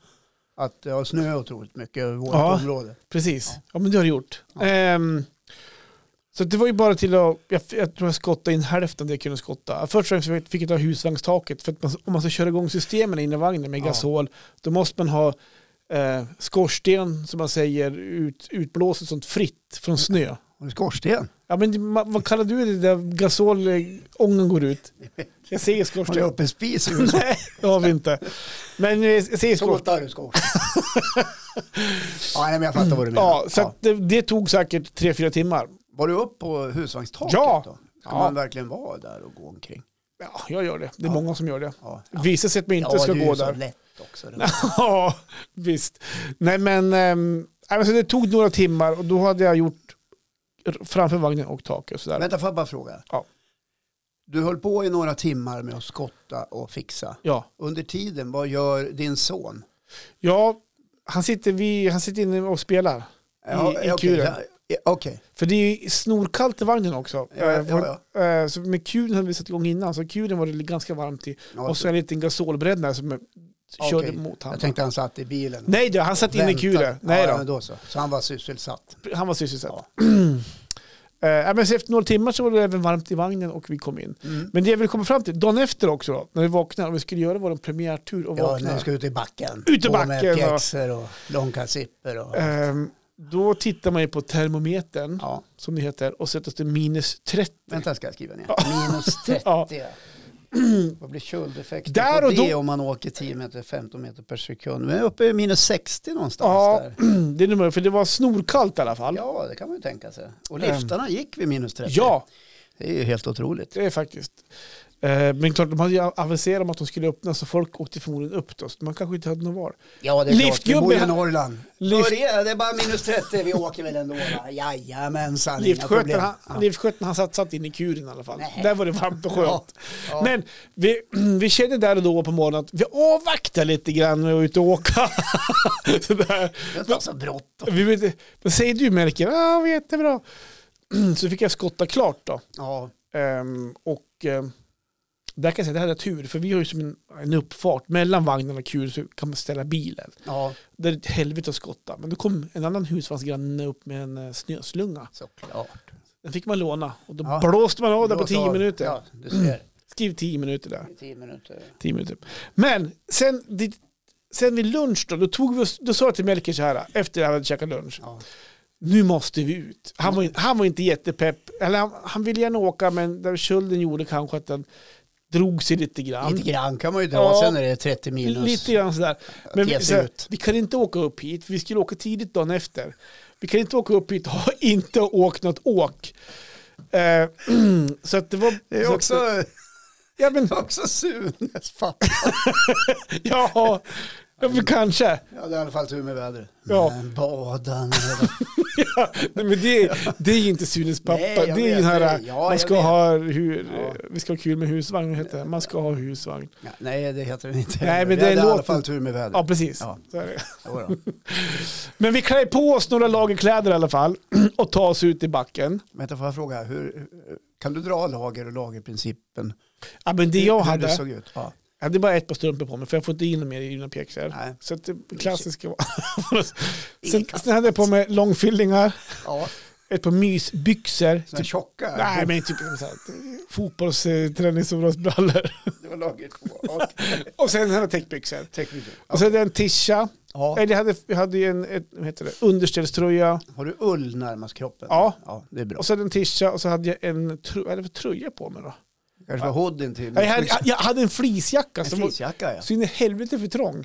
Speaker 1: Att det har snöat otroligt mycket över vårt
Speaker 2: Ja.
Speaker 1: område.
Speaker 2: Precis, ja.
Speaker 1: Ja.
Speaker 2: men det har det gjort.
Speaker 1: Ja.
Speaker 2: Ehm, så det var ju bara till att, jag, jag tror jag skottade in hälften det jag kunde skotta. Först och främst fick jag ta husvagnstaket, för att man, om man ska köra igång systemen inne i vagnen med
Speaker 1: Ja.
Speaker 2: gasol, då måste man ha eh, skorsten, som man säger, ut, utblåset sånt fritt från snö.
Speaker 1: Har du skorsten?
Speaker 2: Ja, men det- ma- vad kallar du det där gasol, eh, ångan går ut? Jag säger
Speaker 1: Har du
Speaker 2: skorsten.
Speaker 1: öppen spis?
Speaker 2: Nej, det har vi inte. Men eh, jag säger skorsten.
Speaker 1: Sotar du skorsten? ja, nej, men jag fattar vad du menar.
Speaker 2: Ja, så
Speaker 1: Ja.
Speaker 2: att det, det tog säkert tre, fyra timmar.
Speaker 1: Var du upp på husvagnstaket
Speaker 2: Ja.
Speaker 1: då? Ska
Speaker 2: Ja.
Speaker 1: man verkligen vara där och gå omkring?
Speaker 2: Ja, jag gör det. Det är
Speaker 1: Ja.
Speaker 2: många som gör det.
Speaker 1: Ja,
Speaker 2: Visar sig att man inte
Speaker 1: ja
Speaker 2: ska
Speaker 1: du är
Speaker 2: gå
Speaker 1: ju så
Speaker 2: där.
Speaker 1: lätt också. Det
Speaker 2: ja, visst. Nej men, ehm, alltså det tog några timmar och då hade jag gjort r- framför vagnen och taket och sådär.
Speaker 1: Vänta, får jag bara fråga?
Speaker 2: Ja.
Speaker 1: Du höll på i några timmar med att skotta och fixa.
Speaker 2: Ja,
Speaker 1: Under tiden, vad gör din son?
Speaker 2: ja Han sitter, vi, han sitter inne och spelar.
Speaker 1: Ja,
Speaker 2: i
Speaker 1: ja, okej.
Speaker 2: kuren.
Speaker 1: Ja, ja, Okej,
Speaker 2: För det är ju snorkallt i vagnen också.
Speaker 1: Ja, ja,
Speaker 2: Eh, folk- eh, Så med kuren hade vi satt igång innan, så kuren var det ganska varmt i.
Speaker 1: Ja,
Speaker 2: Och så en liten gasolbrännare som eh, körde
Speaker 1: Okej.
Speaker 2: mot honom.
Speaker 1: jag tänkte han satt i bilen.
Speaker 2: Nej då, han satt inne i
Speaker 1: Vänta.
Speaker 2: kuren. Nej
Speaker 1: ja,
Speaker 2: då.
Speaker 1: men då så. Så han var sysselsatt.
Speaker 2: Han var sysselsatt. Eh, ja, men så efter några timmar så var det även varmt i vagnen och vi kom in.
Speaker 1: Mm.
Speaker 2: Men det jag vill komma fram till, dagen efter också då, när vi vaknade och vi skulle göra vår premiärtur och
Speaker 1: Ja, när
Speaker 2: vakna.
Speaker 1: du ska ut i backen.
Speaker 2: Ut i
Speaker 1: På
Speaker 2: backen,
Speaker 1: Med
Speaker 2: ja.
Speaker 1: pjäxor och långkalsipper. Och,
Speaker 2: Ehm, då tittar man ju på termometern,
Speaker 1: ja.
Speaker 2: som det heter, och sätter det minus 30.
Speaker 1: Vänta, ska jag skriva ner. Minus 30.
Speaker 2: Ja.
Speaker 1: Vad blir köldeffekten
Speaker 2: Där
Speaker 1: på
Speaker 2: och
Speaker 1: det
Speaker 2: då-
Speaker 1: om man åker 10 meter, 15 meter per sekund? Men uppe i minus 60 någonstans
Speaker 2: Ja.
Speaker 1: där.
Speaker 2: Det är nummer, för det var snorkallt i alla fall. Ja.
Speaker 1: Ja, det kan man ju tänka sig. Och liftarna gick vid minus 30. Det är ju helt otroligt.
Speaker 2: det är faktiskt. Eh, Men klart, de hade ju aviserat om att de skulle öppna, så folk åkte förmodligen upp då, så man kanske inte hade någon val.
Speaker 1: Ja, det är klart. Vi
Speaker 2: Liftgubbe-
Speaker 1: bor ju i Norrland.
Speaker 2: Lift-
Speaker 1: Börja, det är bara minus 30, vi åker väl ändå. va? Jajamensan, inga
Speaker 2: Liftskötaren,
Speaker 1: problem.
Speaker 2: han, liftskötaren, han satt, satt inne i kuren i alla fall.
Speaker 1: Nej.
Speaker 2: Där var det varmt och skönt.
Speaker 1: Ja, ja.
Speaker 2: Men vi, vi kände där och då på morgonen att vi avvaktar lite grann med att ut och åka. Sådär.
Speaker 1: Det är inte så bråttom.
Speaker 2: Vi vet, vad säger du Melker? Ja, ah, jättebra. Så fick jag skotta klart då.
Speaker 1: Ja,
Speaker 2: Ehm, och ehm, där kan jag säga, det här är tur, för vi har ju som en, en uppfart mellan vagnen och kuren så kan man ställa bilen.
Speaker 1: ja,
Speaker 2: Det är ett helvete att skotta. Men då kom en annan husvagnsgranne upp med en eh, snöslunga.
Speaker 1: såklart.
Speaker 2: Den fick man låna och då
Speaker 1: Ja.
Speaker 2: blåste man av där på
Speaker 1: Blås
Speaker 2: tio
Speaker 1: av.
Speaker 2: minuter.
Speaker 1: Ja, du ser.
Speaker 2: Skriv tio minuter där.
Speaker 1: Tio minuter.
Speaker 2: Tio minuter. Men sen, dit- sen vid lunch då, då, tog vi oss, då sa jag till Melker så här, efter att jag hade käkat lunch,
Speaker 1: Ja.
Speaker 2: nu måste vi ut. Han var, han var inte jättepepp, eller han, han ville gärna åka men där kölden gjorde kanske att den drog sig lite grann.
Speaker 1: Lite grann kan man ju dra
Speaker 2: Ja.
Speaker 1: sen när det är 30 minus.
Speaker 2: Lite grann sådär. Men
Speaker 1: ge
Speaker 2: vi,
Speaker 1: sig
Speaker 2: såhär,
Speaker 1: ut.
Speaker 2: vi kan inte åka upp hit, för vi skulle åka tidigt dagen efter. Vi kan inte åka upp hit och ha inte åkt något åk. Eh, så att det var...
Speaker 1: Det är också,
Speaker 2: Ja, men,
Speaker 1: också Sunes pappa.
Speaker 2: ja, ja men kanske.
Speaker 1: Jag hade i alla fall tur med vädret.
Speaker 2: Ja.
Speaker 1: Men badan.
Speaker 2: Ja, nej, men det, det är ju inte Sunes pappa.
Speaker 1: Nej, jag
Speaker 2: det är ju
Speaker 1: vet
Speaker 2: den här,
Speaker 1: det. Ja,
Speaker 2: man
Speaker 1: jag
Speaker 2: ska
Speaker 1: vet.
Speaker 2: ha, hur,
Speaker 1: Ja.
Speaker 2: vi ska ha kul med husvagn, vad heter det? Man ska ha husvagn.
Speaker 1: Ja, Nej, det heter den inte.
Speaker 2: Nej,
Speaker 1: heller. Vi
Speaker 2: men det
Speaker 1: hade i alla
Speaker 2: låter-
Speaker 1: fall tur med vädret.
Speaker 2: Ja, precis.
Speaker 1: Ja.
Speaker 2: Så är det.
Speaker 1: Jodå.
Speaker 2: Men vi klär på oss några lager kläder i alla fall och tar oss ut i backen.
Speaker 1: Vänta, får jag fråga, hur, kan du dra lager och lagerprincipen?
Speaker 2: Ja, men det
Speaker 1: Hur-
Speaker 2: jag
Speaker 1: Hur det
Speaker 2: hade,
Speaker 1: såg ut? Ja.
Speaker 2: jag hade bara ett par strumpor på mig för jag får inte in dem mer i mina pjäxor.
Speaker 1: Nej.
Speaker 2: Så att det klassiska var...
Speaker 1: Ingen
Speaker 2: sen,
Speaker 1: kast.
Speaker 2: sen hade jag på mig långfyllingar,
Speaker 1: Ja.
Speaker 2: ett par mysbyxor.
Speaker 1: Sådana
Speaker 2: Typ,
Speaker 1: tjocka?
Speaker 2: nej, men typ så här, fotbollsträningsområdesbrallor.
Speaker 1: Det var lager två. Ja,
Speaker 2: Och sen hade jag täckbyxor.
Speaker 1: tekniker.
Speaker 2: Och så hade jag en tisha.
Speaker 1: Ja.
Speaker 2: Eller jag hade, jag hade ju en ett, vad heter det, underställströja.
Speaker 1: Har du ull närmast kroppen?
Speaker 2: Ja.
Speaker 1: ja det är bra.
Speaker 2: Och så hade jag en tisha och så hade jag en tro, vad hade jag för tröja på mig då.
Speaker 1: Kanske var hoodien till.
Speaker 2: Nej, alltså, Jag hade, jag, jag hade en flisjacka
Speaker 1: en
Speaker 2: som var
Speaker 1: fleecejacka ja.
Speaker 2: så in i helvete för trång.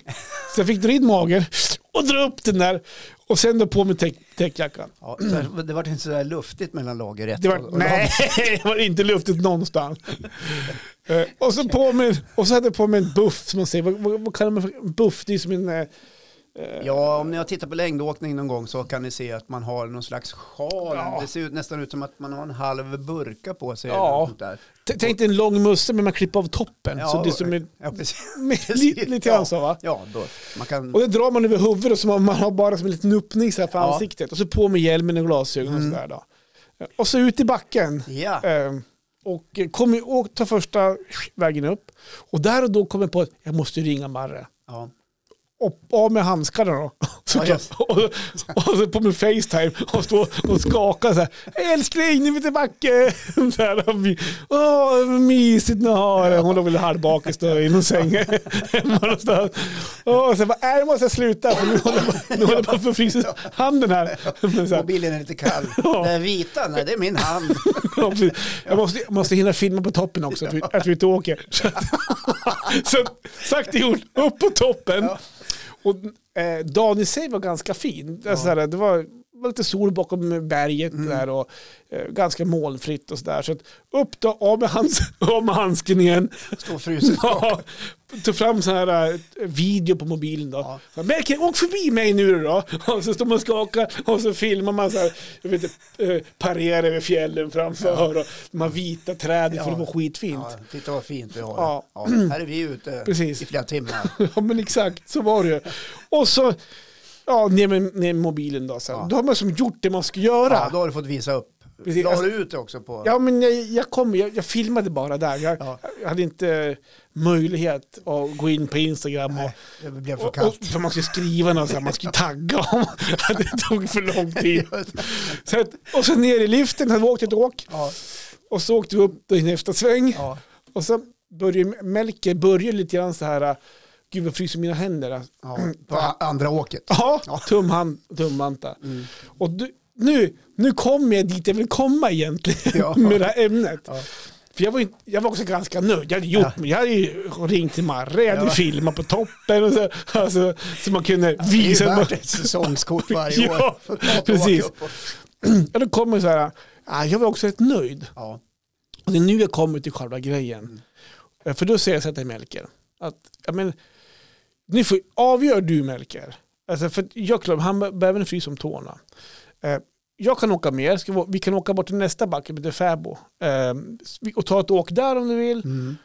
Speaker 2: Så jag fick dra in magen och dra upp den där. Och sen då på med täck, täckjackan.
Speaker 1: ja så här, det var inte sådär luftigt mellan lager ett
Speaker 2: Det
Speaker 1: och,
Speaker 2: var,
Speaker 1: och
Speaker 2: nej, det var inte luftigt någonstans. Eh, och, så på med, och så hade jag på mig en buff som man säger. Vad, vad, vad kallar man för en buff? Det är som en... eh, eh,
Speaker 1: Ja, om ni har tittat på längdåkning någon gång så kan ni se att man har någon slags sjal.
Speaker 2: Ja.
Speaker 1: Det ser ut, nästan ut som att man har en halv burka på sig.
Speaker 2: Ja.
Speaker 1: Eller något sånt där.
Speaker 2: t- Tänk dig en lång musse men man klipper av toppen. så det är som en
Speaker 1: ja, precis.
Speaker 2: Men,
Speaker 1: Precis,
Speaker 2: li, lite
Speaker 1: ja.
Speaker 2: grann så va?
Speaker 1: Ja, då, man kan...
Speaker 2: Och det drar man över huvudet så man, man har bara som en liten öppning så här för
Speaker 1: Ja. Mm.
Speaker 2: ansiktet. Och så på med hjälmen och glasögon och sådär då. Och så ut i backen.
Speaker 1: Ja,
Speaker 2: Ehm, Och kom ju- och ta första vägen upp. Och där och då kom jag på att jag måste ringa Marre.
Speaker 1: ja.
Speaker 2: Och av med handskarna då.
Speaker 1: Ja,
Speaker 2: Såklart.
Speaker 1: just.
Speaker 2: och, och så på min Facetime och stå och skaka så här. Älskling, nu är vi till backen. Så här, och vi, Åh, vad mysigt ni har det. Hon låg väl halvbakis då i någon säng hemma någonstans. Och sen bara, nej nu måste jag sluta för nu håller jag- nu håller jag på att förfrysa handen här. Men så här,
Speaker 1: Mobilen är lite kall.
Speaker 2: Ja.
Speaker 1: Den vita, nej det är min hand.
Speaker 2: Ja, precis. Jag måste, jag måste hinna filma på toppen också, att vi, att vi inte åker. Så, att- så att, sagt och gjort, upp på toppen. Och, eh, dagen i sig var ganska fin. Alltså, såhär, det var, var lite sol bakom berget där och eh, ganska molnfritt och sådär. Så att, upp då, av med, hands, av med handsken igen.
Speaker 1: Står frusen.
Speaker 2: Ja, tog fram sån här eh, video på mobilen då.
Speaker 1: Ja.
Speaker 2: Ja. Melker, åk förbi mig nu då. Och så står man och skakar och så filmar man så här, jag vet inte, eh, parerar över fjällen framför och de här vita träden för
Speaker 1: Ja.
Speaker 2: det var skitfint.
Speaker 1: Ja, titta vad fint vi har.
Speaker 2: Ja.
Speaker 1: Ja. här är vi ute
Speaker 2: Precis.
Speaker 1: i flera timmar.
Speaker 2: Ja. men exakt, så var det ju. Och så Ja, ner med, ner med mobilen då sen.
Speaker 1: Ja.
Speaker 2: Då har man som gjort det man ska göra.
Speaker 1: Ja, då har du fått visa upp.
Speaker 2: Precis,
Speaker 1: La
Speaker 2: alltså-
Speaker 1: du ut det också på...
Speaker 2: Ja, men jag, jag kom, jag, jag filmade bara där. Jag,
Speaker 1: Ja.
Speaker 2: jag hade inte möjlighet att gå in på Instagram och,
Speaker 1: Nej, det blev för
Speaker 2: och,
Speaker 1: kallt.
Speaker 2: och för man skulle skriva något, så här, man skulle tagga om. det tog för lång tid. Så att, och så ner i liften, hade vi åkt ett åk
Speaker 1: Ja,
Speaker 2: och så åkte vi upp i nästa sväng.
Speaker 1: ja.
Speaker 2: Och så började Melker började lite grann så här, gud vad fryser mina händer.
Speaker 1: Ja, på a- andra åket.
Speaker 2: Ja, tumhand och tummanta.
Speaker 1: Mm.
Speaker 2: Och du, nu, nu kommer jag dit jag vill komma egentligen
Speaker 1: Ja.
Speaker 2: med det här ämnet.
Speaker 1: Ja.
Speaker 2: För jag var, ju, jag var också ganska nöjd. Jag hade, gjort, jag hade ju ringt till Marre, jag hade
Speaker 1: Ja.
Speaker 2: filmat på toppen och så, alltså, så man kunde
Speaker 1: Det är ju
Speaker 2: visa.
Speaker 1: värt ett säsongskort varje
Speaker 2: Ja,
Speaker 1: år. För att ta ett åk
Speaker 2: precis.
Speaker 1: uppåt.
Speaker 2: ja, då kommer så här, ah, jag var också rätt nöjd.
Speaker 1: Ja,
Speaker 2: Och det är Alltså, nu jag kommer till själva grejen. Eh, För då säger jag så här till Melker. Att, ja, men, nu får, avgör du Melker. Alltså, för att jag klarar, han be- behöver en frys om tårna. Eh, jag kan åka med, ska vi, vi kan åka bort till nästa backe, till Fäbo. Eh, vi- och ta ett åk där om du vill.
Speaker 1: Mm.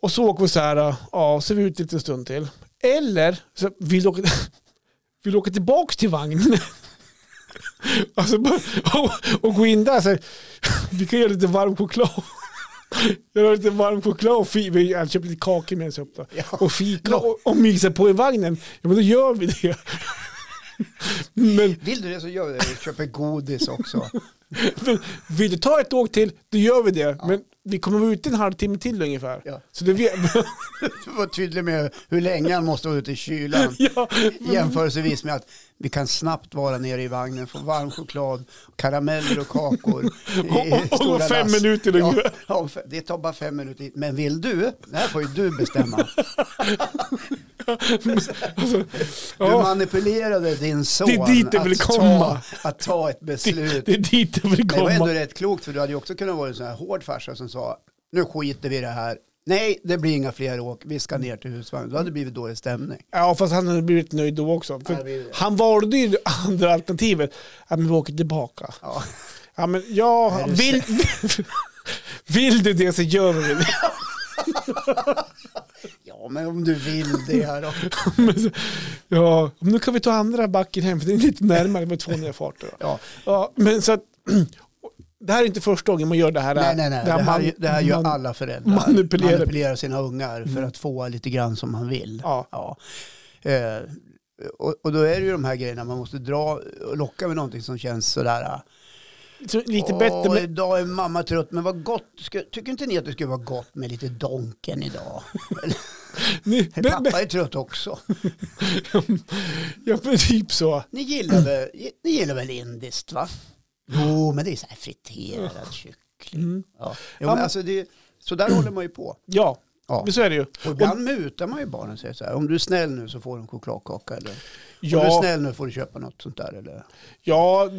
Speaker 2: Och så åker vi så här, eh, ja, så är vi ute lite en stund till. Eller, så vill du åka, vill du åka tillbaka till vagnen? alltså, bara- och, och gå in där, så här, vi kan göra lite varm choklad. Jag har lite varm choklad och fika. Vi har köpt lite kakor med oss upp. Då.
Speaker 1: Ja.
Speaker 2: Och fika och, och mysa på i vagnen. Ja men då gör vi det. Men,
Speaker 1: Vill du det så gör vi det. Vi köper godis också.
Speaker 2: men vill du ta ett åk till, då gör vi det. Men vi kommer vara ute en halvtimme till ungefär.
Speaker 1: Ja.
Speaker 2: Så det vet...
Speaker 1: Du var tydlig med hur länge han måste vara ute i kylan.
Speaker 2: ja,
Speaker 1: Jämförelsevis med att vi kan snabbt vara nere i vagnen, få varm choklad, karameller och kakor. i
Speaker 2: och- och
Speaker 1: stora
Speaker 2: fem minuter
Speaker 1: Ja,
Speaker 2: ungefär.
Speaker 1: ja, om fe- det tar bara fem minuter. hit. Men vill du? Det här får ju du bestämma. Du
Speaker 2: alltså, ja,
Speaker 1: manipulerade din son
Speaker 2: Det är dit jag vill
Speaker 1: att,
Speaker 2: komma.
Speaker 1: Ta, att ta ett beslut.
Speaker 2: det är dit jag vill
Speaker 1: Men det var ändå
Speaker 2: komma.
Speaker 1: rätt klokt för du hade ju också kunnat vara en sån här hård farsa som sa nu skiter vi i det här. Nej, det blir inga fler åk. Vi ska ner till husvagn. Då hade det blivit dålig stämning.
Speaker 2: Ja, fast han hade blivit nöjd då också.
Speaker 1: Ja, det blir
Speaker 2: För
Speaker 1: det.
Speaker 2: han valde ju det andra alternativet. Ja, men vi åker tillbaka.
Speaker 1: Ja.
Speaker 2: Ja, men ja,
Speaker 1: Är du
Speaker 2: vill, vill du det så gör vi det.
Speaker 1: ja, men om du vill det här då.
Speaker 2: Men så- ja, nu kan vi ta andra backen hem, för det är lite närmare med 200 farter. då.
Speaker 1: Ja.
Speaker 2: Ja, men så att, det här är inte första gången man gör det här.
Speaker 1: Nej, nej, nej. Det här,
Speaker 2: man-
Speaker 1: det här gör
Speaker 2: man-
Speaker 1: alla föräldrar.
Speaker 2: manipulerar. Mm.
Speaker 1: manipulerar sina ungar för att få lite grann som man vill.
Speaker 2: Ja.
Speaker 1: Eh, och, och då är det ju de här grejerna man måste dra och locka med någonting som känns sådär. ah,
Speaker 2: så Lite
Speaker 1: Åh,
Speaker 2: bättre, men,
Speaker 1: idag är mamma trött, men vad gott. Ska, tycker inte ni att det skulle vara gott med lite donken idag?
Speaker 2: nu, men, men,
Speaker 1: Pappa är trött också.
Speaker 2: ja, men typ så.
Speaker 1: Ni gillar väl, ni gillar väl indiskt va? Jo, men det är så här friterad kyckling.
Speaker 2: Mm.
Speaker 1: Ja. Jo,
Speaker 2: Ja,
Speaker 1: men
Speaker 2: men-
Speaker 1: alltså det, så där håller man ju på.
Speaker 2: Ja,
Speaker 1: Ja.
Speaker 2: men så är det ju.
Speaker 1: Och ibland mutar man ju barnen och säger så här, om du är snäll nu så får du en chokladkaka eller om du är
Speaker 2: Ja,
Speaker 1: snäll nu får du köpa något sånt där eller
Speaker 2: ja,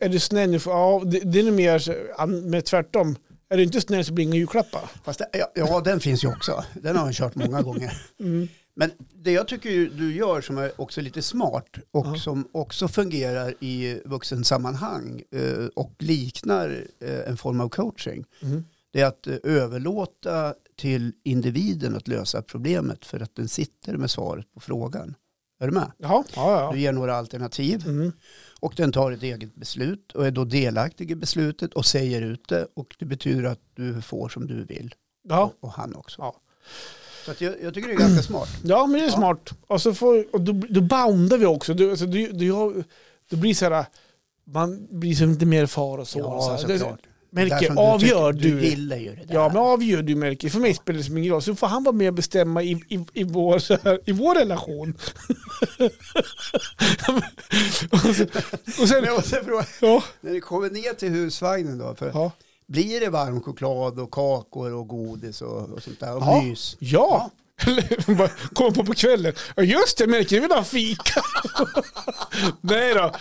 Speaker 2: är du snäll nu? får- Ja, det, det är nog mer så- an- men tvärtom. Är du inte snäll så blir det inga julklappar.
Speaker 1: Fast det, ja, ja, den finns ju också. Den har jag kört många gånger.
Speaker 2: Mm.
Speaker 1: Men det jag tycker ju du gör som är också lite smart och
Speaker 2: Ja.
Speaker 1: som också fungerar i vuxensammanhang eh, och liknar eh, en form av coaching,
Speaker 2: Mm.
Speaker 1: det är att eh, överlåta till individen att lösa problemet för att den sitter med svaret på frågan. Är du med?
Speaker 2: Ja, ja,
Speaker 1: Du
Speaker 2: ja.
Speaker 1: ger några alternativ
Speaker 2: Mm.
Speaker 1: och den tar ett eget beslut och är då delaktig i beslutet och säger ut det och det betyder att du får som du vill
Speaker 2: ja.
Speaker 1: och han också.
Speaker 2: Ja.
Speaker 1: Så att jag, jag tycker det är ganska smart.
Speaker 2: Ja, men det är
Speaker 1: Ja.
Speaker 2: smart. Och, så får, och då, då boundar vi också. Du, alltså, du, du, har- det blir så här, man blir så lite mer far och son. och så här. Det-
Speaker 1: Det där
Speaker 2: Melke,
Speaker 1: som
Speaker 2: avgör
Speaker 1: tycker-
Speaker 2: du.
Speaker 1: Du gillar ju det där.
Speaker 2: ja, men avgör du Melke. För mig spelar det som ingen roll. Så får han vara med och bestämma i, i, i, vår, så här, i vår relation. och, så, och sen...
Speaker 1: Men jag måste fråga,
Speaker 2: Ja,
Speaker 1: när ni kommer ner till husvagnen då, för
Speaker 2: ja.
Speaker 1: blir det varm choklad och kakor och godis och, och sånt där och
Speaker 2: Ja.
Speaker 1: mys?
Speaker 2: ja. Eller, bara Kommer på på kvällen. Ja just det, Melker, du vill ha fika. Nej då.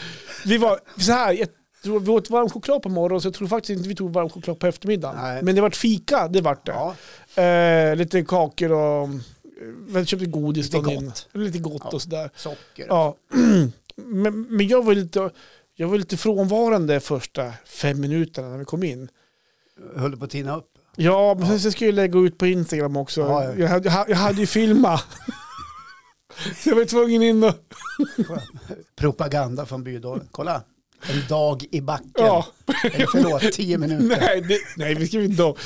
Speaker 2: Vi var så här, jag tror vi åt varm choklad på morgonen så jag tror faktiskt inte vi tog varm choklad på eftermiddagen.
Speaker 1: Nej.
Speaker 2: Men det vart fika, det vart det.
Speaker 1: Ja,
Speaker 2: Eh, lite kakor och... eh, Vi köpte godis.
Speaker 1: Lite
Speaker 2: dagen
Speaker 1: gott.
Speaker 2: innan. Lite gott
Speaker 1: Ja.
Speaker 2: och sådär.
Speaker 1: socker.
Speaker 2: Ja. Men, men jag var lite... Jag var lite frånvarande första fem minuterna när vi kom in.
Speaker 1: Höll på att tina upp.
Speaker 2: Ja, men sen så skulle jag lägga ut på Instagram också.
Speaker 1: Ja, ja.
Speaker 2: Jag, hade, jag hade ju filmat. Så jag var tvungen in och...
Speaker 1: Propaganda från Bydalen. Kolla, en dag i backen.
Speaker 2: Ja.
Speaker 1: Eller förlåt, tio minuter.
Speaker 2: Nej, det, nej, vi skrev inte då.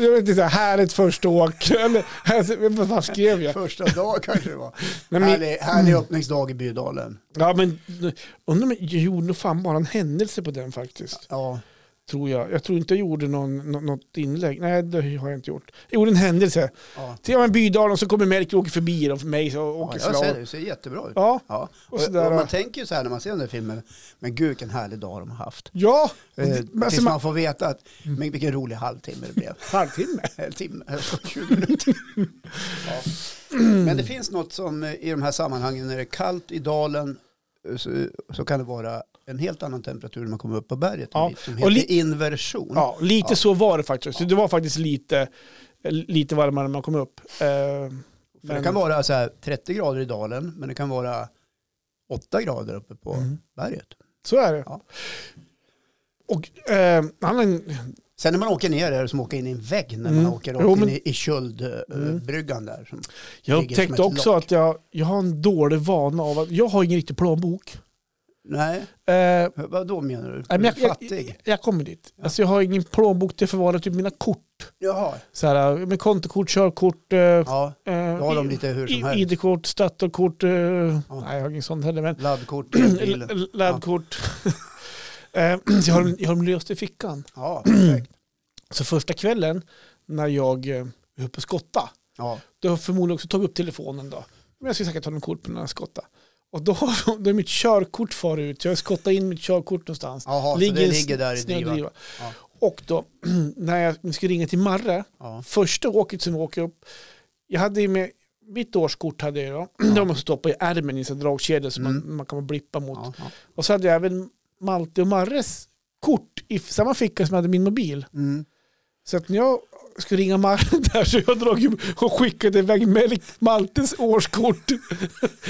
Speaker 2: Jag vet inte, så här, härligt första åk. Eller, alltså, vad fan skrev jag?
Speaker 1: Första dag kanske det var.
Speaker 2: Nej, men-
Speaker 1: härlig, härlig öppningsdag i Bydalen.
Speaker 2: Ja, men undrar om jag gjorde nog fan bara en händelse på den faktiskt.
Speaker 1: Ja,
Speaker 2: Tror jag. Jag tror inte jag gjorde någon, nå- något inlägg. Nej, det har jag inte gjort. Jag gjorde en händelse.
Speaker 1: ja.
Speaker 2: Till och med Bydalen så kommer Melker och åker förbi då för mig så
Speaker 1: ja
Speaker 2: åker
Speaker 1: jag ser det,
Speaker 2: slag.
Speaker 1: det ser jättebra ut.
Speaker 2: Ja,
Speaker 1: Ja.
Speaker 2: Och
Speaker 1: Och
Speaker 2: sådär,
Speaker 1: och man
Speaker 2: och-
Speaker 1: tänker ju så här när man ser den där filmen, men gud vilken härlig dag de har haft.
Speaker 2: ja.
Speaker 1: Eh,
Speaker 2: Men alltså,
Speaker 1: tills
Speaker 2: man, Mm.
Speaker 1: man får veta att, men vilken rolig halvtimme det blev.
Speaker 2: halvtimme.
Speaker 1: En timme, alltså 20 minuter. Ja.
Speaker 2: Mm.
Speaker 1: Men det finns något som eh, i de här sammanhangen, när det är kallt i dalen, eh, så, så kan det vara en helt annan temperatur när man kommer upp på berget.
Speaker 2: Ja,
Speaker 1: en bit, Som
Speaker 2: och
Speaker 1: heter
Speaker 2: li-
Speaker 1: inversion.
Speaker 2: Ja, lite
Speaker 1: Ja.
Speaker 2: så var det faktiskt. Det var faktiskt lite, lite varmare när man kom upp. Eh,
Speaker 1: För det kan vara så här 30 grader i dalen, men det kan vara 8 grader uppe på
Speaker 2: Mm.
Speaker 1: berget.
Speaker 2: Så är det.
Speaker 1: Ja.
Speaker 2: Och eh, han,
Speaker 1: Sen när man åker ner är det som att åka in i en vägg när
Speaker 2: Mm.
Speaker 1: man åker
Speaker 2: Jo,
Speaker 1: rakt
Speaker 2: men-
Speaker 1: in i, i köldbryggan
Speaker 2: Mm.
Speaker 1: bryggan där. Som,
Speaker 2: jag
Speaker 1: Ligger som
Speaker 2: upptäckte
Speaker 1: ett
Speaker 2: också
Speaker 1: lock.
Speaker 2: att jag, jag har en dålig vana av att jag har ingen riktig plånbok.
Speaker 1: nej,
Speaker 2: Eh,
Speaker 1: vad då menar du?
Speaker 2: Nej, men jag, jag,
Speaker 1: Fattig?
Speaker 2: jag, jag kommer dit. Alltså, jag har ingen plånbok till att förvara typ mina kort.
Speaker 1: Jaha,
Speaker 2: Så här, med kontokort, körkort, eh,
Speaker 1: ja,
Speaker 2: eh,
Speaker 1: då har de lite hur som
Speaker 2: i-
Speaker 1: helst.
Speaker 2: ID-kort, statorkort. Eh,
Speaker 1: Ja.
Speaker 2: Nej, jag har ingen sånt heller. Men,
Speaker 1: Laddkort, bilen.
Speaker 2: l- laddkort. Eh, så jag har, dem- jag har dem löst i fickan.
Speaker 1: Ja, perfekt.
Speaker 2: Så första kvällen när jag eh, är uppe och skotta,
Speaker 1: Ja,
Speaker 2: då har jag förmodligen också tagit upp telefonen då. Men jag ska säkert ta någon kort på när jag skottar. Och då har då är mitt körkort far ut. Jag har skottat in mitt körkort någonstans.
Speaker 1: Jaha, så det
Speaker 2: en
Speaker 1: ligger där i
Speaker 2: snödriva.
Speaker 1: drivan. Ja.
Speaker 2: Och då, när jag ska ringa till Marre,
Speaker 1: Ja.
Speaker 2: första åket som vi åker upp, jag hade ju med, mitt årskort hade jag då, det har man stoppat i ärmen i en sån dragkedja som man, man kan blippa mot.
Speaker 1: Mm. Ja, ja.
Speaker 2: Och så hade jag även Malte och Marres kort i f- samma ficka som jag hade min mobil.
Speaker 1: Mm.
Speaker 2: Så att när jag skulle ringa Marre där så jag drog ju och skickade iväg Mel- Maltes årskort.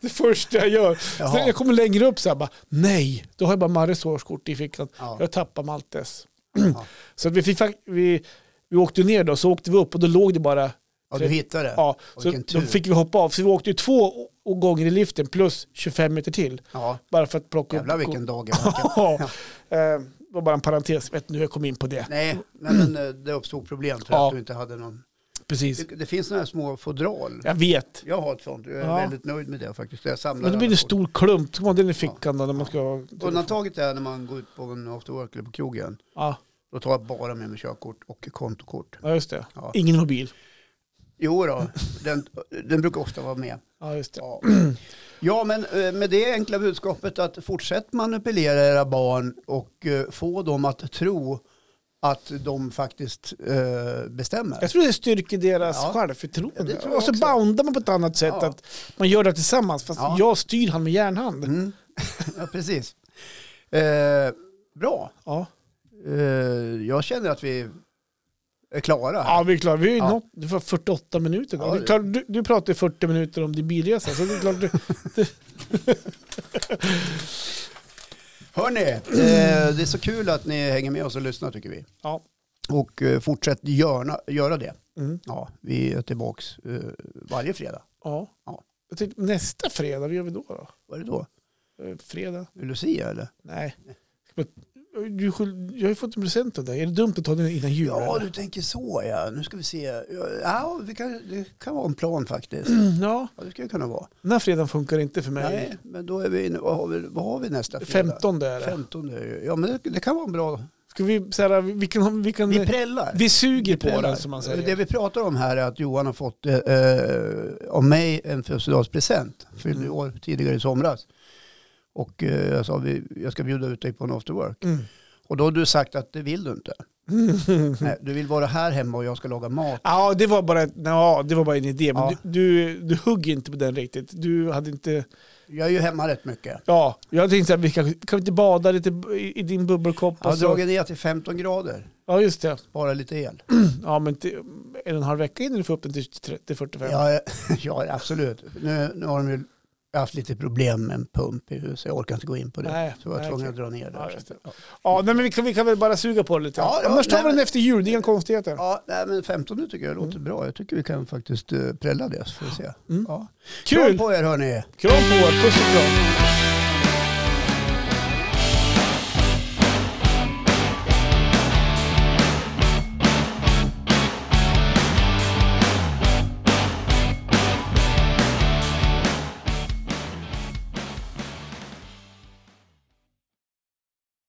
Speaker 2: Det första jag gör.
Speaker 1: Jaha.
Speaker 2: Sen jag kommer längre upp så här bara, nej, då har jag bara Marres årskort i fickan.
Speaker 1: Ja.
Speaker 2: Jag tappar Maltes.
Speaker 1: Ja.
Speaker 2: Så att vi, fick, fak- vi, vi åkte ner då, så åkte vi upp och då låg det bara,
Speaker 1: ja, du hittade det.
Speaker 2: ja, så
Speaker 1: Vilken
Speaker 2: då
Speaker 1: tur.
Speaker 2: fick vi hoppa av. Så vi åkte ju två o- gånger i liften plus 25 meter till.
Speaker 1: Ja,
Speaker 2: Bara för att plocka
Speaker 1: jävlar
Speaker 2: upp
Speaker 1: vilken dag i backen.
Speaker 2: Ja. Eh, Det var bara en parentes, vet inte hur jag kom in på det.
Speaker 1: Nej, nej, men eh, det uppstod problem för
Speaker 2: Ja.
Speaker 1: att du inte hade någon.
Speaker 2: Precis.
Speaker 1: Det, det finns några små fodral.
Speaker 2: Jag vet.
Speaker 1: Jag har ett sånt. Jag är
Speaker 2: Ja.
Speaker 1: väldigt nöjd med det faktiskt. Jag samlar
Speaker 2: Men då blir
Speaker 1: alla
Speaker 2: det
Speaker 1: fodral.
Speaker 2: stor klump, så man har den i fickan då när man ska...
Speaker 1: Undantaget är när man går ut på en after work eller på krogen.
Speaker 2: Ja,
Speaker 1: Då tar jag bara med mig körkort och kontokort.
Speaker 2: ja, just det.
Speaker 1: Ja.
Speaker 2: Ingen mobil.
Speaker 1: Jo då, den, den brukar ofta vara med.
Speaker 2: Ja, just det.
Speaker 1: Ja. ja, men eh, med det enkla budskapet att fortsätt manipulera era barn och eh, få dem att tro att de faktiskt eh, bestämmer.
Speaker 2: Jag tror det styrker deras
Speaker 1: Ja. Ja,
Speaker 2: självförtroende.
Speaker 1: det tror jag
Speaker 2: och så
Speaker 1: också.
Speaker 2: bandar man på ett annat sätt.
Speaker 1: Ja.
Speaker 2: Att man gör det tillsammans, fast
Speaker 1: Ja.
Speaker 2: jag styr han med järnhand.
Speaker 1: Mm. ja, precis. Eh, bra.
Speaker 2: Ja.
Speaker 1: Eh, jag känner att vi är klara. här.
Speaker 2: ja, vi är klara. Vi har ju
Speaker 1: Ja.
Speaker 2: nått, du får 48 minuter. Då.
Speaker 1: Ja,
Speaker 2: det är
Speaker 1: det-
Speaker 2: klart, du, du pratar ju 40 minuter om din bilresa, så det är klart du...
Speaker 1: Hörni, eh, det är så kul att ni hänger med oss och lyssnar tycker vi.
Speaker 2: Ja.
Speaker 1: Och eh, fortsätt göra, göra det.
Speaker 2: Mm.
Speaker 1: Ja, vi är tillbaka eh, varje fredag.
Speaker 2: ja.
Speaker 1: Ja.
Speaker 2: Jag tänkte, nästa fredag, vad gör vi då? då?
Speaker 1: Vad är det då?
Speaker 2: Eh, Fredag?
Speaker 1: Lucia eller?
Speaker 2: Nej. Men, Du, är skyld- jag har ju fått en present av dig. Är det dumt att ta den innan jul?
Speaker 1: Ja,
Speaker 2: eller?
Speaker 1: du tänker så ja. Nu ska vi se. Ja, Ja, vi kan, det kan vara en plan faktiskt.
Speaker 2: ja.
Speaker 1: Ja, det ska det kunna vara.
Speaker 2: Den här fredagen funkar inte för mig.
Speaker 1: Nej, men då är vi inne. Vad har vi, vad har vi nästa fredag?
Speaker 2: 15 är det.
Speaker 1: 15 är det ju. Ja, men det, det kan vara en bra.
Speaker 2: Ska vi, så här, vi, vi kan, vi, kan,
Speaker 1: Vi
Speaker 2: vi,
Speaker 1: prällar.
Speaker 2: suger på
Speaker 1: prällar.
Speaker 2: den som man säger.
Speaker 1: Det vi pratar om här är att Johan har fått eh, eh, av mig en födelsedagspresent. Fyllde
Speaker 2: Mm.
Speaker 1: år tidigare i somras. Och eh, jag sa vi, jag ska bjuda ut dig på en after work.
Speaker 2: Mm.
Speaker 1: Och då har du sagt att det vill du inte. Nej, du vill vara här hemma och jag ska laga mat.
Speaker 2: Ja, det var bara, ett- ja, det var bara en idé. Men
Speaker 1: Ja.
Speaker 2: du, du, du högg inte på den riktigt. Du hade inte...
Speaker 1: Jag är ju hemma rätt mycket.
Speaker 2: Ja, jag tänkte så här, vi kan, kan vi inte bada lite i, i din bubbelkopp?
Speaker 1: Jag har
Speaker 2: och så-
Speaker 1: dragit ner till 15 grader,
Speaker 2: Ja, just det.
Speaker 1: bara lite el.
Speaker 2: Ja, men till, en och en halv vecka innan du får upp den till 30-45.
Speaker 1: Ja, ja absolut. Nu, nu har de ju jag har haft lite problem med en pump i huset. Jag orkar inte gå in på det.
Speaker 2: Nej,
Speaker 1: så jag var
Speaker 2: nej,
Speaker 1: tvungen
Speaker 2: okej.
Speaker 1: att dra ner det.
Speaker 2: Ja,
Speaker 1: så
Speaker 2: just
Speaker 1: att- ja.
Speaker 2: Ja, nej, men vi kan, vi kan väl bara suga på det lite.
Speaker 1: Ja, ja,
Speaker 2: Annars tar
Speaker 1: nej,
Speaker 2: vi den
Speaker 1: men-
Speaker 2: efter jul, det är inga konstigheter.
Speaker 1: Ja, nej, men 15 nu tycker jag låter
Speaker 2: Mm.
Speaker 1: bra. Jag tycker vi kan faktiskt eh, prälla det så får vi se. Ja.
Speaker 2: Kul!
Speaker 1: Kram på er hörni!
Speaker 2: Kram på er, puss och kram.